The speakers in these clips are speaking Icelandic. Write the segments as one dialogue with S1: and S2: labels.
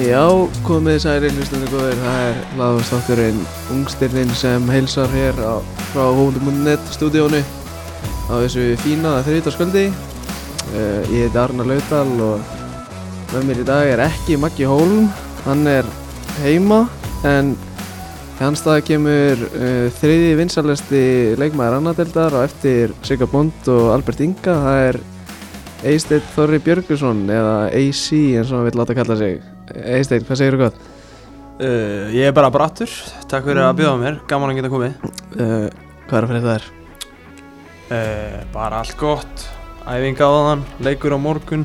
S1: Já, komið þið særi, hlustandi góðir, það er laðvastátturinn Ungstirnin sem heilsar hér á, frá Hófundum.net stúdíónu á þessu fína þriðdagsskvöldi. Uh, ég heiti Arnar Lautal og með mér í dag er ekki Maggi Hólm, hann er heima en í hans stað kemur uh, þriði vinsalesti leikmaður annadeldar og eftir Sigga Bond og Albert Inga, það er Eysteinn Þorri Björgursson eða AC eins og hann vil láta kalla sig Eysteinn, hvað segirðu gott?
S2: Uh, ég er bara brattur, takk fyrir að bjóða mér, gaman að geta komið
S1: Uh, hvað er að fyrir það er?
S2: uh, Bara allt gott, æfing áðan, leikur á morgun,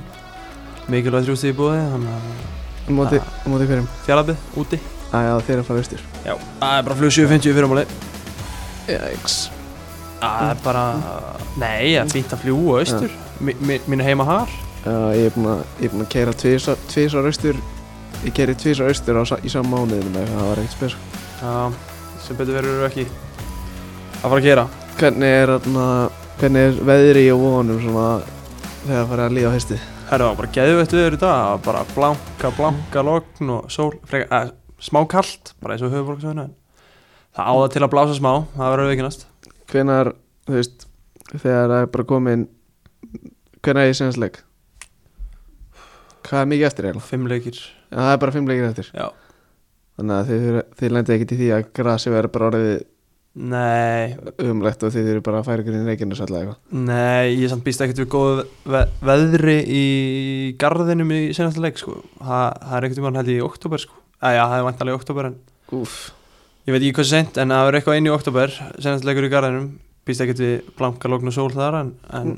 S2: mikilvægt þrjústi í búði, þannig að
S1: Á móti,
S2: Ah.
S1: á móti hverjum?
S2: fjallabið, úti
S1: Æja, þeir eru að fara austur
S2: Já, það er bara flug 750 fyrir máli
S1: Jæks
S2: Það er bara, nei, það er fínt að fljúa austur, mi mi mínu heima har
S1: uh, Ég er búinn að, ég er búinn að keira tvisar austur Ég keiri tvisar austur á, sa- í sama mánuðinu með það var ekkert spes
S2: Já, sem betur verður ekki að fara að gera
S1: Hvernig er, atna, hvernig er veðri og vonum svona þegar farið að líða á hesti?
S2: Herra, það var bara geðveitt viður í dag, það var bara blanka, blanka logn og sól, freka, að, smá kalt, bara eins og höfuborgsveðinu, en það áða til að blása smá, það verður vikinast.
S1: Hvenar, þú veist, þegar það er bara komin Hvenar er ég sensleik? Hvað er mikið eftir eiginlega?
S2: Fimm leikir,
S1: Já, það er bara fimm leikir eftir
S2: já.
S1: Þannig að þið, þurfa- þið lendið ekkert í því að grasi verður bara orðið
S2: Nei,
S1: umlegt og þið eru bara að færa ykkur inn í Reykjanes alltaf eitthvað.
S2: nei, ég samt býst ekkert við góðu ve veðri í garðinum í senasta leik, sko. Það, það er ekkert um hann held ég í oktober, sko. Æja, það er vantalega í oktober, en
S1: Úf.
S2: ég veit ekki hvað sent, en það verður eitthvað inn í oktober, senasta leikur í garðinum, býst ekkert við blanka logn og sól þar, en, en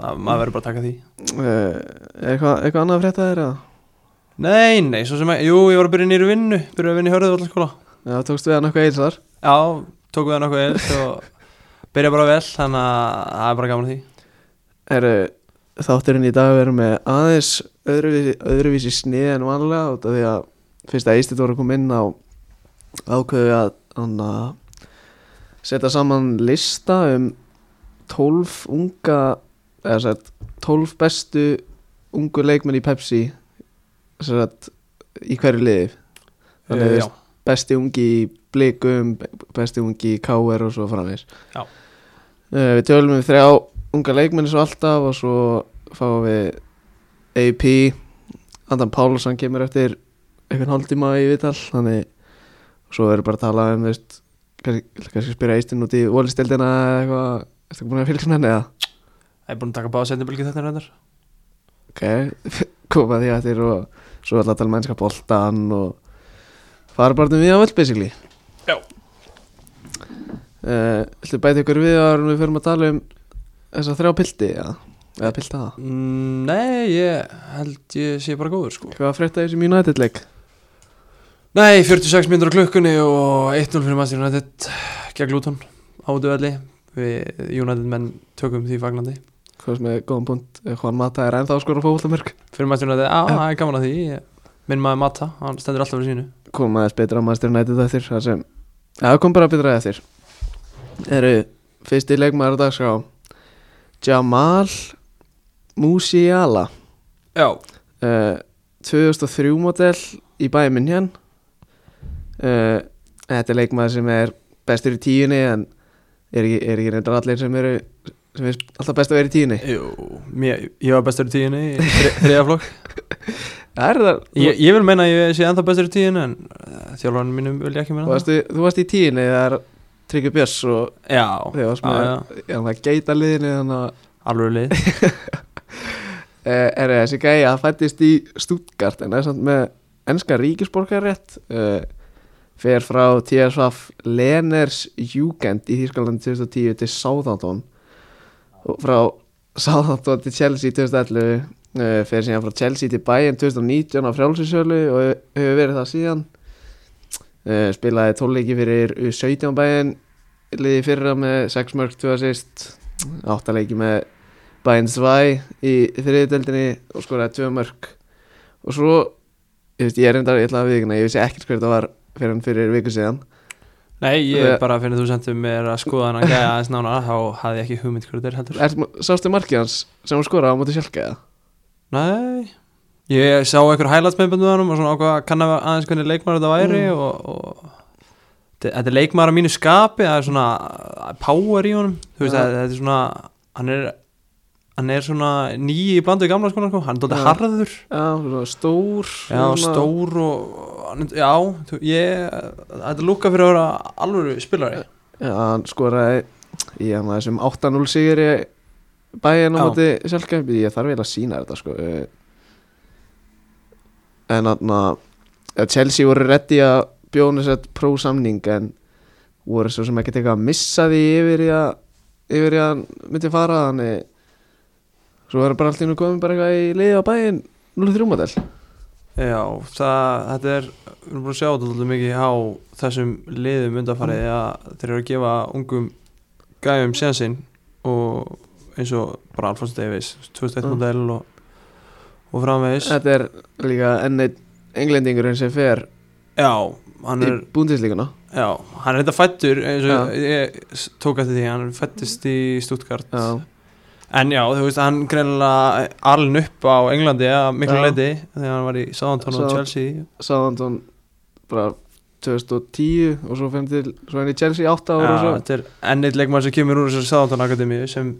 S2: að, maður verður bara að taka því.
S1: Uh, eitthvað, eitthvað annað að frétta þér eða?
S2: Nei, nei, svo sem ekki, jú, ég var að byrja nýru vinnu, byrja að vinna í Hörðuvallaskóla.
S1: Já, tókstu við hann eitthvað eils þar?
S2: Já, tók við hann okkur eins og byrja bara vel, þannig að það er bara gaman að því.
S1: Eru eh, þátturinn í dag að vera með aðeins öðruvísi, öðruvísi snið en vanlega út af því að fyrst að Ístit voru að koma inn á ákveðu að hann að setja saman lista um 12 unga eða sett 12 bestu ungu leikmenn í Pepsi sett í hverju liði Þannig
S2: Eh,
S1: að besti ungi í blikum, besti ungi í káer og svo framvegis
S2: Já.
S1: Eh, Við tölum við þrjá unga leikmenni svo alltaf og svo fáum við AP Andan Pálsson kemur eftir einhvern hálftíma í viðtal þannig og svo verður bara að tala um þú veist, kannski, kannski spyrja eistinn út í volistildina eða eitthvað Ertu ekki búin að fylgja með henni eða?
S2: Ég er búin að taka báða sendinbylgi þetta reyndar.
S1: Ok, koma því eftir og svo alltaf tala um mennska boltan og fara bara um við á völd basically
S2: Já.
S1: Uh, Þú bæti ykkur við áður en við förum að tala um þessa þrjá pildi, já, eða pilda það
S2: Mm, Nei, ég held ég sé bara góður, sko.
S1: Hvað að frétta í þessum United-leik?
S2: Nei, 46 mínútur á klukkunni og 1-0 fyrir Master United gegn Luton á döðli. Við United menn tökum því fagnandi.
S1: Hvað sem er góðan punkt, eh, Juan Mata er ennþá að skora fókvöldamörk
S2: Fyrir Master United, á, það er gaman að því. Ég- Minn maður Mata, hann stendur alltaf fyrir sínu.
S1: Kom aðeins betra að Master United eftir, það sem, já, það kom bara betra eftir Eru, fyrsti leikmaður á dagskrá Jamal Musiala
S2: Já,
S1: uh, 2003 model í bæminn hér uh, Þetta er leikmaður sem er bestur í tíunni en er ekki, er ekki reyndar allir sem eru sem er alltaf best að vera í tíunni
S2: jú, mér, ég var bestur í tíunni í þri- þriðja flokk.
S1: Er það?
S2: Ég, ég vil meina að ég sé ennþá bestur í tíðinu en uh, þjálfarinn mínum vil ég ekki
S1: Þú
S2: meina
S1: varst,
S2: það.
S1: þú varst í tíunni þegar Tryggvi Björns og
S2: Já,
S1: þegar varst
S2: já,
S1: með
S2: já,
S1: já, það geita liðinu þannig að
S2: alveg lið.
S1: eh, er þessi gæja að fættist í Stuttgart en það er samt með enska ríkisborgarrétt uh, fer frá TSF Leners Jugend í Þýskaland 2010 til Southampton og frá Southampton til Chelsea 2011 uh, fer síðan frá Chelsea til Bayern 2019 á frjálsinsölu og hefur verið það síðan uh, spilaði tónleiki fyrir 17 Bayern liði í fyrra með 6 mörg 2 assist 8 leiki með Bayern 2 í þriðutöldinni og skoraði tvö mörg og svo, ég veist, ég er reyndar ég ætla að viðkynna, ég vissi ekkert hver þetta var fyrir hann fyrir viku síðan
S2: Nei, ég
S1: Þe-
S2: bara finnir þú sendið mér að skoða hann að gæja aðeins nánar, þá hafði ég ekki hugmynd hverju þetta er heldur.
S1: er, sástu markið hans sem hún skoraði á móti sjálfgæða
S2: Nei, Ég sá einhver highlights með bönnum og svona ákvað að kanna aðeins hvernig leikmaður þetta væri og, og Þe- þetta er leikmaður á mínu skapi, það er svona uh, power í honum, þú veist
S1: Já.
S2: að þetta er svona, hann er hann er svona nýi í blandu í gamla skona sko. hann er dóttir
S1: Já.
S2: harður
S1: Já, svona stór
S2: já, stór og hann er- já, þú- ég, þetta lúka fyrir að vera alvöru spilari
S1: Já, hann skoraði í hann þessum 8-0 sigri bæinn á
S2: Já.
S1: móti sjálfkæmpi ég þarf eiginlega að sína þetta sko eh, en þarna að Chelsea voru reddi að bjóna sér prósamning en voru svo sem ekkert eitthvað að missa því yfir í að yfir í að hann myndi fara þannig svo verður bara allt í nú komin bara eitthvað í liði á bæinn 0-3 model
S2: já, það, þetta er við erum búin að sjá þetta alltaf mikið á þessum liðum
S1: Mm.
S2: undanfarið að þeir eru að gefa ungum gæjum sénsinn og eins og bara Alphonse Davies 2001
S1: Mm.
S2: modell og, og framvegis
S1: þetta er líka enn einn englendingurinn sem fer
S2: já, hann
S1: í
S2: er
S1: búndislíkuna
S2: Já, hann er þetta fættur eins og
S1: Já.
S2: ég s- tók eftir því hann fættist í Stuttgart
S1: já,
S2: en já, þú veist, hann greinlega alin upp á Englandi að miklu
S1: Já.
S2: leiti þegar hann var í Southampton og
S1: Sá-
S2: Chelsea
S1: Southampton bara 2010 og svo fyrir til svo henni Chelsea 8 ára
S2: Já,
S1: og svo
S2: þetta er ennið leikmann sem kemur úr þessari Southampton Akademíu sem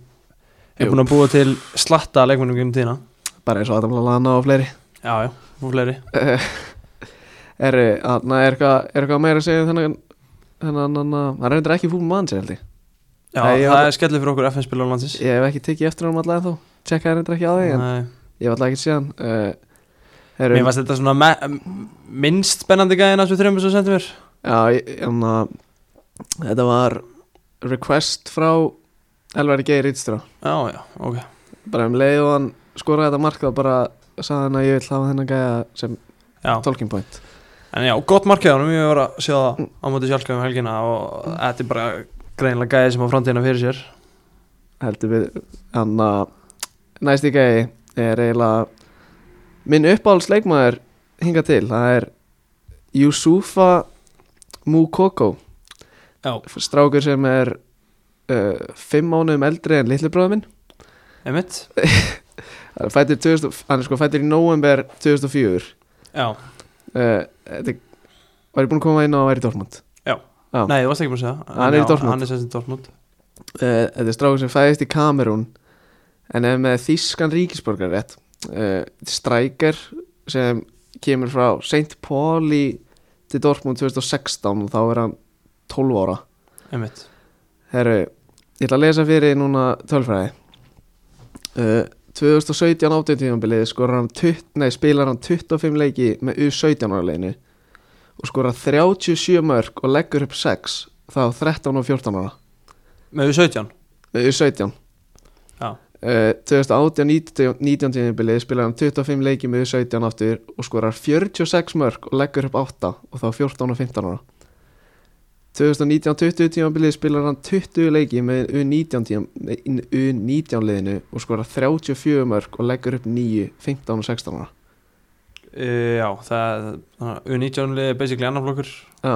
S2: er
S1: Jú.
S2: búin að búa til slatta af leikmannum um tíðina
S1: bara eins og Adam Lallana og fleiri
S2: Já, já, og fleiri
S1: er, na, er, eitthvað, er eitthvað meira að segja um þennan þennan þennan það er reyndar ekki fútbol manns held ég
S2: Já,
S1: Nei, ég
S2: það
S1: hafði-
S2: er skellir fyrir okkur FN-spilar á landsins
S1: ég hef ekki tekið eftir hann allavega þó tjekka það reyndar ekki á því en
S2: Nei.
S1: ég hef allavega ekki séð hann uh,
S2: Mér
S1: erum,
S2: fannst þetta svona me- m- minnst spennandi gæðin að svo þreymur sem sendum mér
S1: já, ég, en, uh, þetta var request frá Elvari Geir Ítstrá
S2: Já, já, ok
S1: bara um leið og hann skoraði þetta mark þá bara sagði hann að ég vil hafa þennan gæja sem
S2: Já,
S1: talking point
S2: En já, gott markið á honum, ég var að sjá það á móti sjálfkjöfum helgina og þetta er bara greinilega gæði sem á framtíðina fyrir sér
S1: heldur við hann að næsti gæi er eiginlega minn uppáhaldsleikmaður hinga til, það er Yusufa Mukoko
S2: Já.
S1: strákur sem er uh, fimm mánuðum eldri en litlubróða minn
S2: Einmitt?
S1: hann er fættur 2000 hann er sko fættur í november 2004
S2: Já,
S1: uh, þetta var ég búin að koma inn á að væri Dortmund Já.
S2: nei, þú varst ekki búin að segja það.
S1: Hann er í
S2: En já,
S1: Dortmund.
S2: Hann er sem sem Dortmund
S1: Eh, Þetta er strákur sem fæðist í Kamerún en er með þýskan Eh, ríkisborgar rétt strækar sem kemur frá St. Pauli til Dortmund 2016 og þá er hann 12 ára
S2: Einmitt
S1: Herru, ég ætla að lesa fyrir þig núna tölfræði uh, 2017-18 tímabilið skorar hann 20, nei, spilar hann 25 leiki með U17 ára leinu og skorar 37 mörg og leggur upp 6 þá 13 og 14 ára
S2: Með því 17
S1: Nei, U17
S2: Já.
S1: Eh, 2018-19 tímabilið spilaði hann 25 leiki með U17 aftur og skorar 46 mörg og leggur upp 8 og þá 14 og 15 ára 2019-20 tímabilið spilaði hann 20 leiki með U19, tíma- nei, U19 liðinu og skorar 34 mörg og leggur upp 9, 15 og 16 ára
S2: Uh, já, það er þannig að U19 liðið er basically annar flokkur
S1: Já,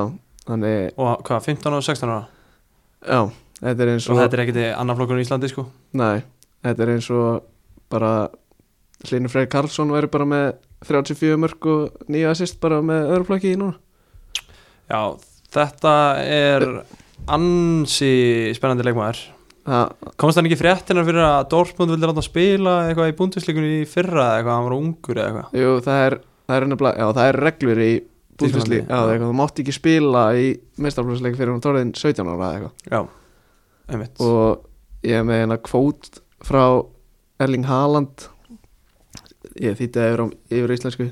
S1: þannig,
S2: og hvað, 15 og 16 ára
S1: já, þetta er eins
S2: Svo
S1: og
S2: þetta er ekkert annar flokkur í Íslandi sko
S1: Nei, þetta er eins og bara Hlynur Freyr Karlsson væri bara með 34 mörg og nýja assist bara með öðruflokki í núna
S2: Já, þetta er ansi spennandi leikmaður
S1: Það,
S2: Komst hann ekki í fréttinar fyrir að Dortmund vildi láta hann spila eitthvað í búndisleikunni í fyrra eða eitthvað, hann var ungur eða eitthvað
S1: jú, það er, það er nefnilega, já, það er reglur í
S2: Þýskalandi,
S1: búndisli, já,
S2: já.
S1: það er eitthvað, þú mátt ekki spila í meistarflóðsleik fyrir hún tóriðin 17 ára eða eitthvað
S2: Já, einmitt
S1: og ég er með hérna kvót frá Erling Haaland ég þýtti það yfir, á- yfir á íslensku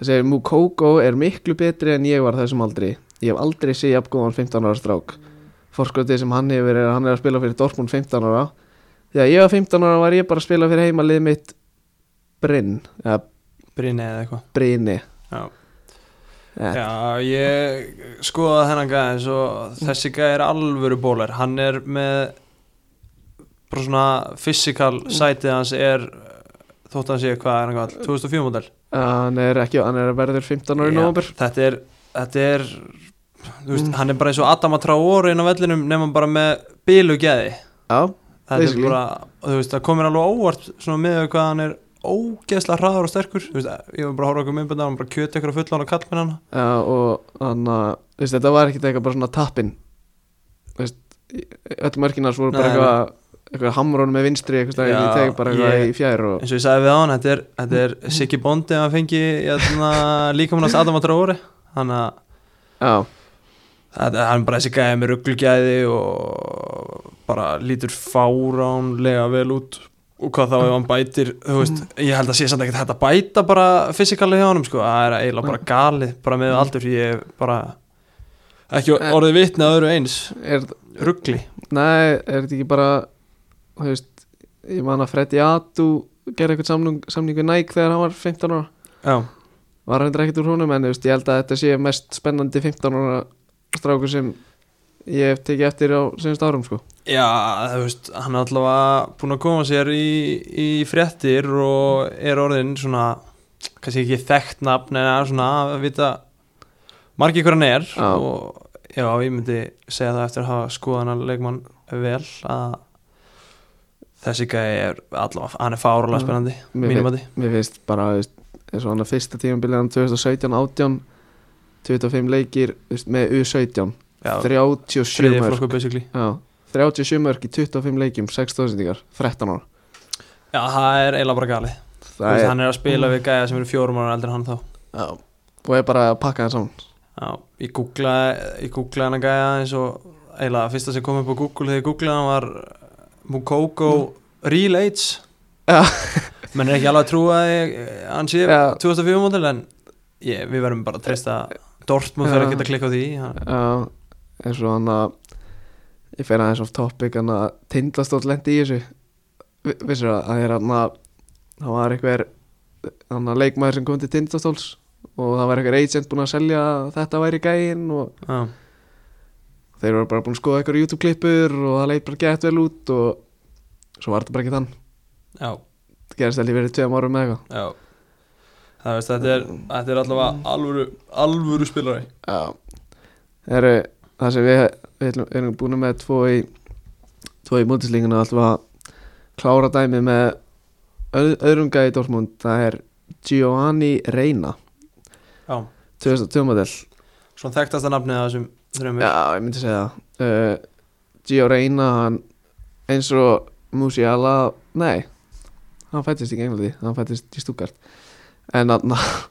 S1: það segir Mukoko er miklu betri en ég var þessum aldri ég hef aldrei séð jafngóðan 15 ára strák forskotið sem hann hefur er að hann er að spila fyrir Dortmund 15 ára þegar ég var 15 ára var ég bara að spila fyrir heimalið mitt Brinn eða
S2: Brynni eða eitthvað
S1: Brini
S2: Já,
S1: ja,
S2: Já ég skoða þennan gæði eins og
S1: Mm.
S2: þessi gæði er alvöru bólar Hann er með bara svona physical
S1: Mm.
S2: sætið hans er þótt hann sé hvað er hann gall 2004 model
S1: hann er ekki, hann er Mm. að verður 15 ára í nómur
S2: Þetta er, þetta er þú
S1: Mm.
S2: veist, hann er bara eins og Adam að trá orðin á vellinum nefnum bara með bílu gæði
S1: já,
S2: Þetta er
S1: Basically.
S2: bara, þú veist, það komir alveg á óvart svona með hvað hann er ógeðslega hraður og sterkur Þú veist, ég var bara að horfa okkur myndbönda hann var bara kjöti ykkur að fulla hann og kall með hann
S1: Já, og þannig að þú veist, þetta var ekkert eitthvað bara svona tappin Þú veist, öll mörkinars voru bara
S2: Nei,
S1: eitthvað eitthvað hamrón með vinstri eitthvað
S2: Já,
S1: ég teg bara eitthvað
S2: ég-
S1: í fjær og
S2: eins og ég sagði við á hann, þetta er, þetta er Siggi Bondi ef hann fengi líkamunast Adam að dráður þannig að
S1: já,
S2: þetta- hann bara þessi gæði með rugglugæði og bara lítur fáránlega vel út og hvað þá ef hann bætir þú veist, ég held að sé samt ekkert hægt að bæta bara fysikali hjá honum sko, það er eiginlega bara galið bara með aldur, ég er bara ekki orðið vitni að öðru eins
S1: er,
S2: ruggli
S1: nei, er þetta ekki bara þú veist, ég man að Freddy Atu gerði eitthvað samning, samning við Nike þegar hann var 15 ára
S2: já,
S1: var hann ekkert úr honum en þú veist, ég held að þetta sé mest spennandi 15 ára strákur sem ég hef tekið eftir á senast árum sko
S2: já þú veist, hann er allavega búin að koma sér í, í fréttir og er orðin svona kannski ekki þekkt nafn en er svona að vita margir hver hann er
S1: Já.
S2: og já, ég myndi segja það eftir að hafa skoðan að leikmann vel að þessi gæði er allavega, hann er fárulega
S1: Já.
S2: spennandi
S1: Mm. Mér
S2: mínum að því
S1: mér finnst bara þú veist, eins og hann að fyrsta tímabilið hann 2017 18 25 leikir þú veist, með U17
S2: já,
S1: 37
S2: þriðið
S1: mörg
S2: flokku basically
S1: já, 37 mörg í 25 leikjum 6 stóðsendingar, 13 ára
S2: já, það er eiginlega bara galið Þú
S1: það
S2: veist,
S1: er, Mm.
S2: hann er að spila við gæða sem eru fjórum ára eldri en hann þá
S1: já, og er bara að pakka það saman
S2: Já, ég googlaði ég googlaði hann að gæja eins og eiginlega fyrsta sem kom upp á Google þegar ég googlaði hann var Mukoko
S1: Mm.
S2: Real Age
S1: Já.
S2: menn er ekki alveg að trúa að ég- hann sé
S1: Já.
S2: 2004 mótil en ég, við verðum bara að treysta Dortmund
S1: Já.
S2: fyrir að geta klikka á því hann-
S1: já, eins og hann að ég fer aðeins off topic hann að tindastótt lendi í þessu Vi- vissir að það er hann að það var einhver hann að leikmaður sem kom til tindastóls og það var einhver agent búin að selja að þetta væri gæinn og
S2: Já.
S1: þeir voru bara búin að skoða eitthvað YouTube-klippur og það leit bara gett vel út og svo var þetta bara ekki þann
S2: Já,
S1: það gerist alveg verið tveim árum með eitthvað
S2: já Það veist, þetta er, þetta er allavega alvöru, alvöru spilari
S1: já það eru það sem við, við ætlum- erum búin með tvo í tvo í mútislinguna alltaf að klára dæmi með öð, öðrunga í Dortmund það er Giovanni Reina
S2: Já,
S1: 2002 modell
S2: svona þekktasta nafnið af þessum þrjum
S1: Já, ég myndi segja það uh, Gio Reyna hann eins og Musiala nei, hann fættist ekki í Englandi hann fættist í Stuttgart en hann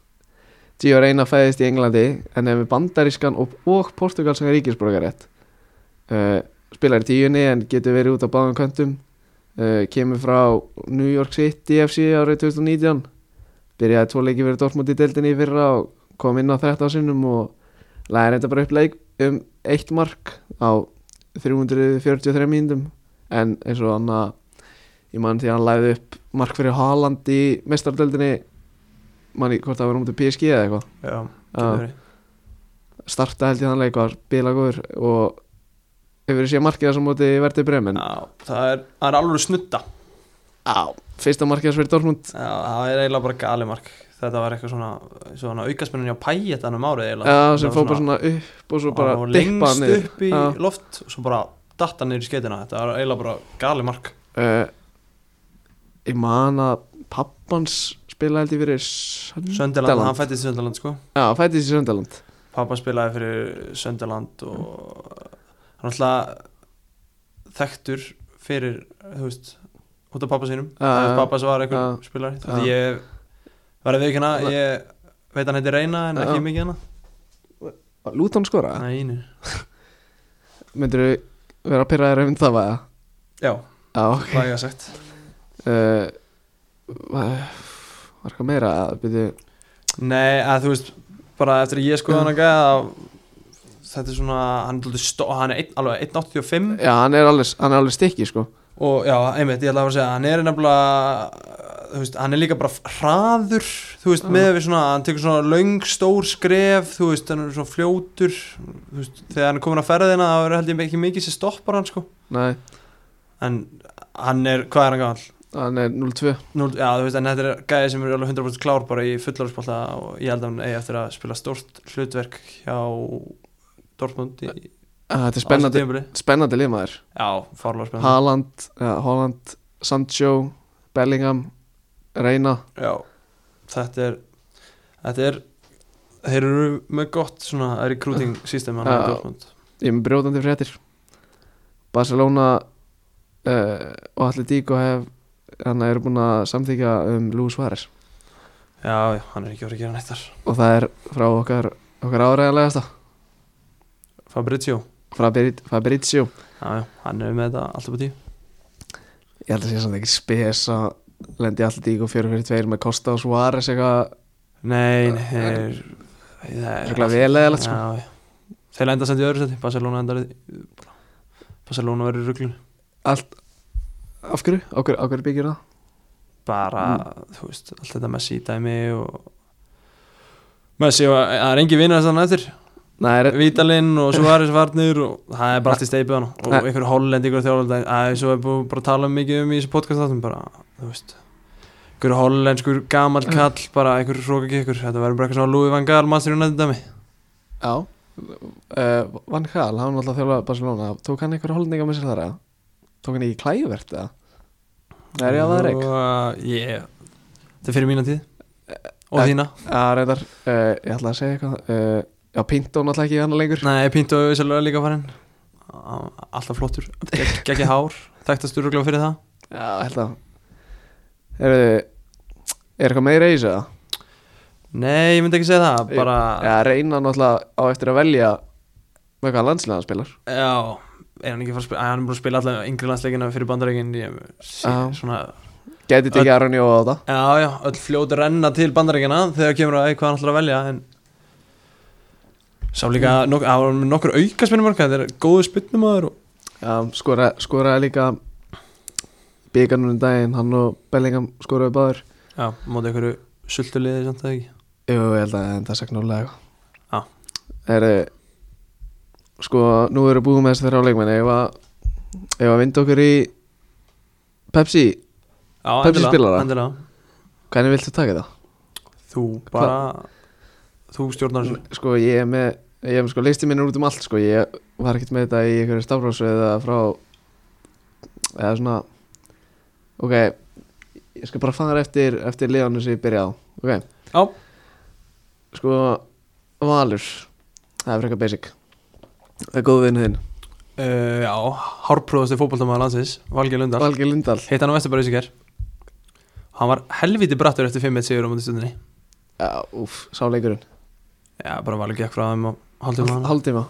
S1: Gio Reyna fættist í Englandi en er með bandarískan og, og portugalskan ríkisborgarétt uh, spilar í tíunni en getur verið út á báðum köntum uh, kemur frá New York City FC árið 2019 byrjaði tvo leiki verið Dortmund í deildinni í fyrra og kom inn á 13 sinnum og læri þetta bara upp leik um eitt mark á 343 mínútum en eins og hann að ég man því að hann læði upp mark fyrir Haaland í mestardeldinni manni hvort það var um til PSG eða eitthvað
S2: Já,
S1: Já.
S2: getur verið
S1: starta held ég þann leik var bila góður og hefur séð markið þessum móti verði bremen
S2: Já, það er, það er alvöru snutta
S1: á, fyrsta markið þessum verið Dortmund
S2: Já, það er eiginlega bara galimark Þetta var eitthvað svona, svona aukaspennin hjá pæjetanum árið eiginlega
S1: á,
S2: Það
S1: sem
S2: var
S1: fór bara svona upp og svo bara
S2: hann var
S1: dippa hann
S2: Lengst
S1: niður
S2: upp í
S1: Já.
S2: loft og svo bara datta niður í skeitina Þetta var eiginlega bara galimark
S1: uh, ég man að pappans spila held ég fyrir Söndaland
S2: Söndaland, hann fættist í Söndaland sko
S1: já, fættist í Söndaland
S2: Pappa spilaði fyrir Söndaland og
S1: Mm.
S2: hann alltaf þekktur fyrir, þú veist, út af pappa sínum
S1: Já,
S2: Það
S1: já.
S2: er pappa sem var einhver
S1: Já.
S2: spilari
S1: Já.
S2: Þetta ég verði við ekki hana, ég veit hann heiti Reyna en
S1: Já.
S2: ekki mikið hana
S1: Lúton skora?
S2: Nei, nei.
S1: Myndir þú vera að pyrra þér um það væða?
S2: Já,
S1: Já, ok
S2: hvað ég að sagt
S1: uh, Var var eitthvað meira Ah, að byrja
S2: Nei, að þú veist, bara eftir að ég skoði hann að gæða að þetta er svona, hann er, dálítið stó- hann er einn, alveg 1.85
S1: Já, hann er alveg, hann er alveg stikki, sko
S2: og já, einmitt, ég ætla að fara að segja hann er nefnilega, þú veist, hann er líka bara hraður, þú veist,
S1: Já.
S2: með við svona, hann tekur svona löng, stór skref þú veist, hann er svona fljótur þú veist, þegar hann er komin að ferðina þá er held ég ekki mikið sem stoppar hann, sko
S1: Nei,
S2: en hann er, hvað er hann gamall?
S1: hann er 0-2
S2: Núl, já, þú veist, en þetta er gæði sem er alveg 100% klár bara í fullarsbólta og ég held að hann eigi eftir að spila stórt hlutverk hjá Dortmund í
S1: Ah, Þetta er spennandi,
S2: tímabili.
S1: spennandi limaður
S2: Já, farlega spennandi
S1: Haaland, ja, Holland, Sancho Bellingham, reyna
S2: Já, þetta er þetta er þeir eru með gott svona recruiting system hann
S1: Ah. Já.
S2: í Dortmund
S1: ég er með brjótandi fréttir Barcelona uh, og allir dík og hef hann eru búin að samþykja um Luis Suárez
S2: Já, já, hann er ekki voru að gera neitt þar
S1: og það er frá okkar, okkar áræðanlegasta
S2: Fabrizio,
S1: frá Brit- Fabrizio
S2: já, já, hann er með þetta alltaf á tíu
S1: ég held að sé samt ekki spes að lendi allir dík og fjöru fyrir tveir með Costa og Suárez eitthvað Ah.
S2: Nei, nei, þeir Það er
S1: Örugglega vel leiðilegt, sko.
S2: Já, já Þeir enda samt í öðru seti, Barcelona endar í- Barcelona verður í ruglun
S1: allt af hverju, á hverju, á hverju byggir það
S2: bara, þú veist, allt þetta Messi dæmi og Messi, og það er engin vinnar þannig eftir
S1: Nei,
S2: Eh.
S1: er,
S2: Vítalinn og Suárez varnir og það er bara allt í steipið hann og
S1: Nei.
S2: einhver Holland, einhver þjálfald að þessu er búið bara að tala mikið um í þessu podcast þáttum bara, þú veist einhver hollenskur gamall kall bara einhver hrókakikkur, þetta verður bara eitthvað svona Louis van Gaal, Master United dæmi
S1: já uh, Van Gaal, hann var alltaf þjálfað Barcelona tók hann einhver holdninga með sér þar eða tók hann ekki klæjuvert eða Nei, er ég að það er ekki
S2: Og, yeah. Þetta er fyrir mína tíð og
S1: Eh,
S2: þína,
S1: Já, reyndar, uh, ég ætla að segja eitthvað uh, Já, Pinto náttúrulega ekki hann lengur
S2: nei, Pinto er vissalega líka farinn Á- alltaf flottur, geggi hár þekktastur og fyrir það
S1: Já, ég held að Eru Er eitthvað meira í þessu það?
S2: Nei, ég myndi ekki segja það, bara
S1: Já, reyna náttúrulega á eftir að velja með hvað landslega hann spilar
S2: Já, er hann ekki fara að spila Æ, Hann er búin að spila allavega yngri landsleikina fyrir bandarækin
S1: Já.
S2: Svona
S1: Gæti tekið Aron Jó á þetta
S2: Já, já, öll fljótu renna til bandarækina Þegar kemur að "Æ, hvað hann ætlar að velja En Sá líka nok Það var með nokkur auka spinnumörka Þetta er góðu spinnumöður og...
S1: Já, skora, skora líka Byggarnum um daginn, hann og Bellingham skoraði báður
S2: Já, móti einhverju sultu liði samt það ekki
S1: Jú, ég held að það segna nálega
S2: Já.
S1: sko. Eru Sko, nú erum við búið með þessi þeirra á leikmenni Ef að, ef að vinda okkur í Pepsi,
S2: Já,
S1: Pepsi spilara?
S2: endilega
S1: hvernig viltu taka það?
S2: Þú bara Þú stjórnar þessu
S1: Sko, ég er með Ég er með sko listi minn er út um allt sko Ég var ekkert með þetta í einhverju stafrásu eða frá Eða svona Ok Ég skal bara fara eftir, eftir liðanum sem ég byrja á Ok
S2: Já,
S1: Sko Valur Það er frekar basic Það er góð vinnu þinn
S2: uh, já Hárpróðasti fótboltamaður landsins Valgeir Lundar
S1: Valgi Lindahl
S2: Hitt hann á Vestabæri í sigur Hann var helviti brattur eftir 5-1 sigur á móti stundinni
S1: Já, úf, sá leikurinn
S2: Já, bara valið gekk frá þeim og haldið maður
S1: Haldtíma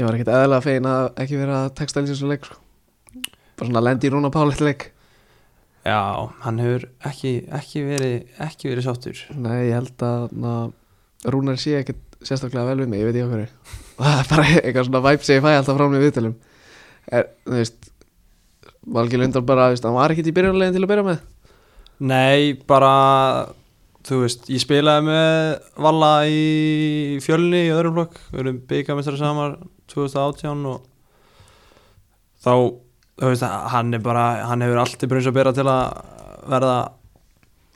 S1: Ég var ekkert eðalega fegin að ekki vera að texta lýsa svo leik sko Bara svona lendi í Rúna Páli eitt leik
S2: Já, hann hefur ekki, ekki verið ekki verið sáttur
S1: Nei, ég held að na, Rúnar sé ekkert sérstaklega vel við mig, ég veit ekki okkur Það er bara eitthvað svona væp sem ég fæ alltaf frá mig viðtölum er, Þú veist Valgi Lundar bara, þú veist, hann var ekkert í byrjunarlegin til að byrja með
S2: Nei, bara þú veist, ég spilaði með Valla í fjölni í öðrum flokk, við erum byggamestrar samar 2018 og þá, þú veist hann er bara, hann hefur allt í brunns að bera til að verða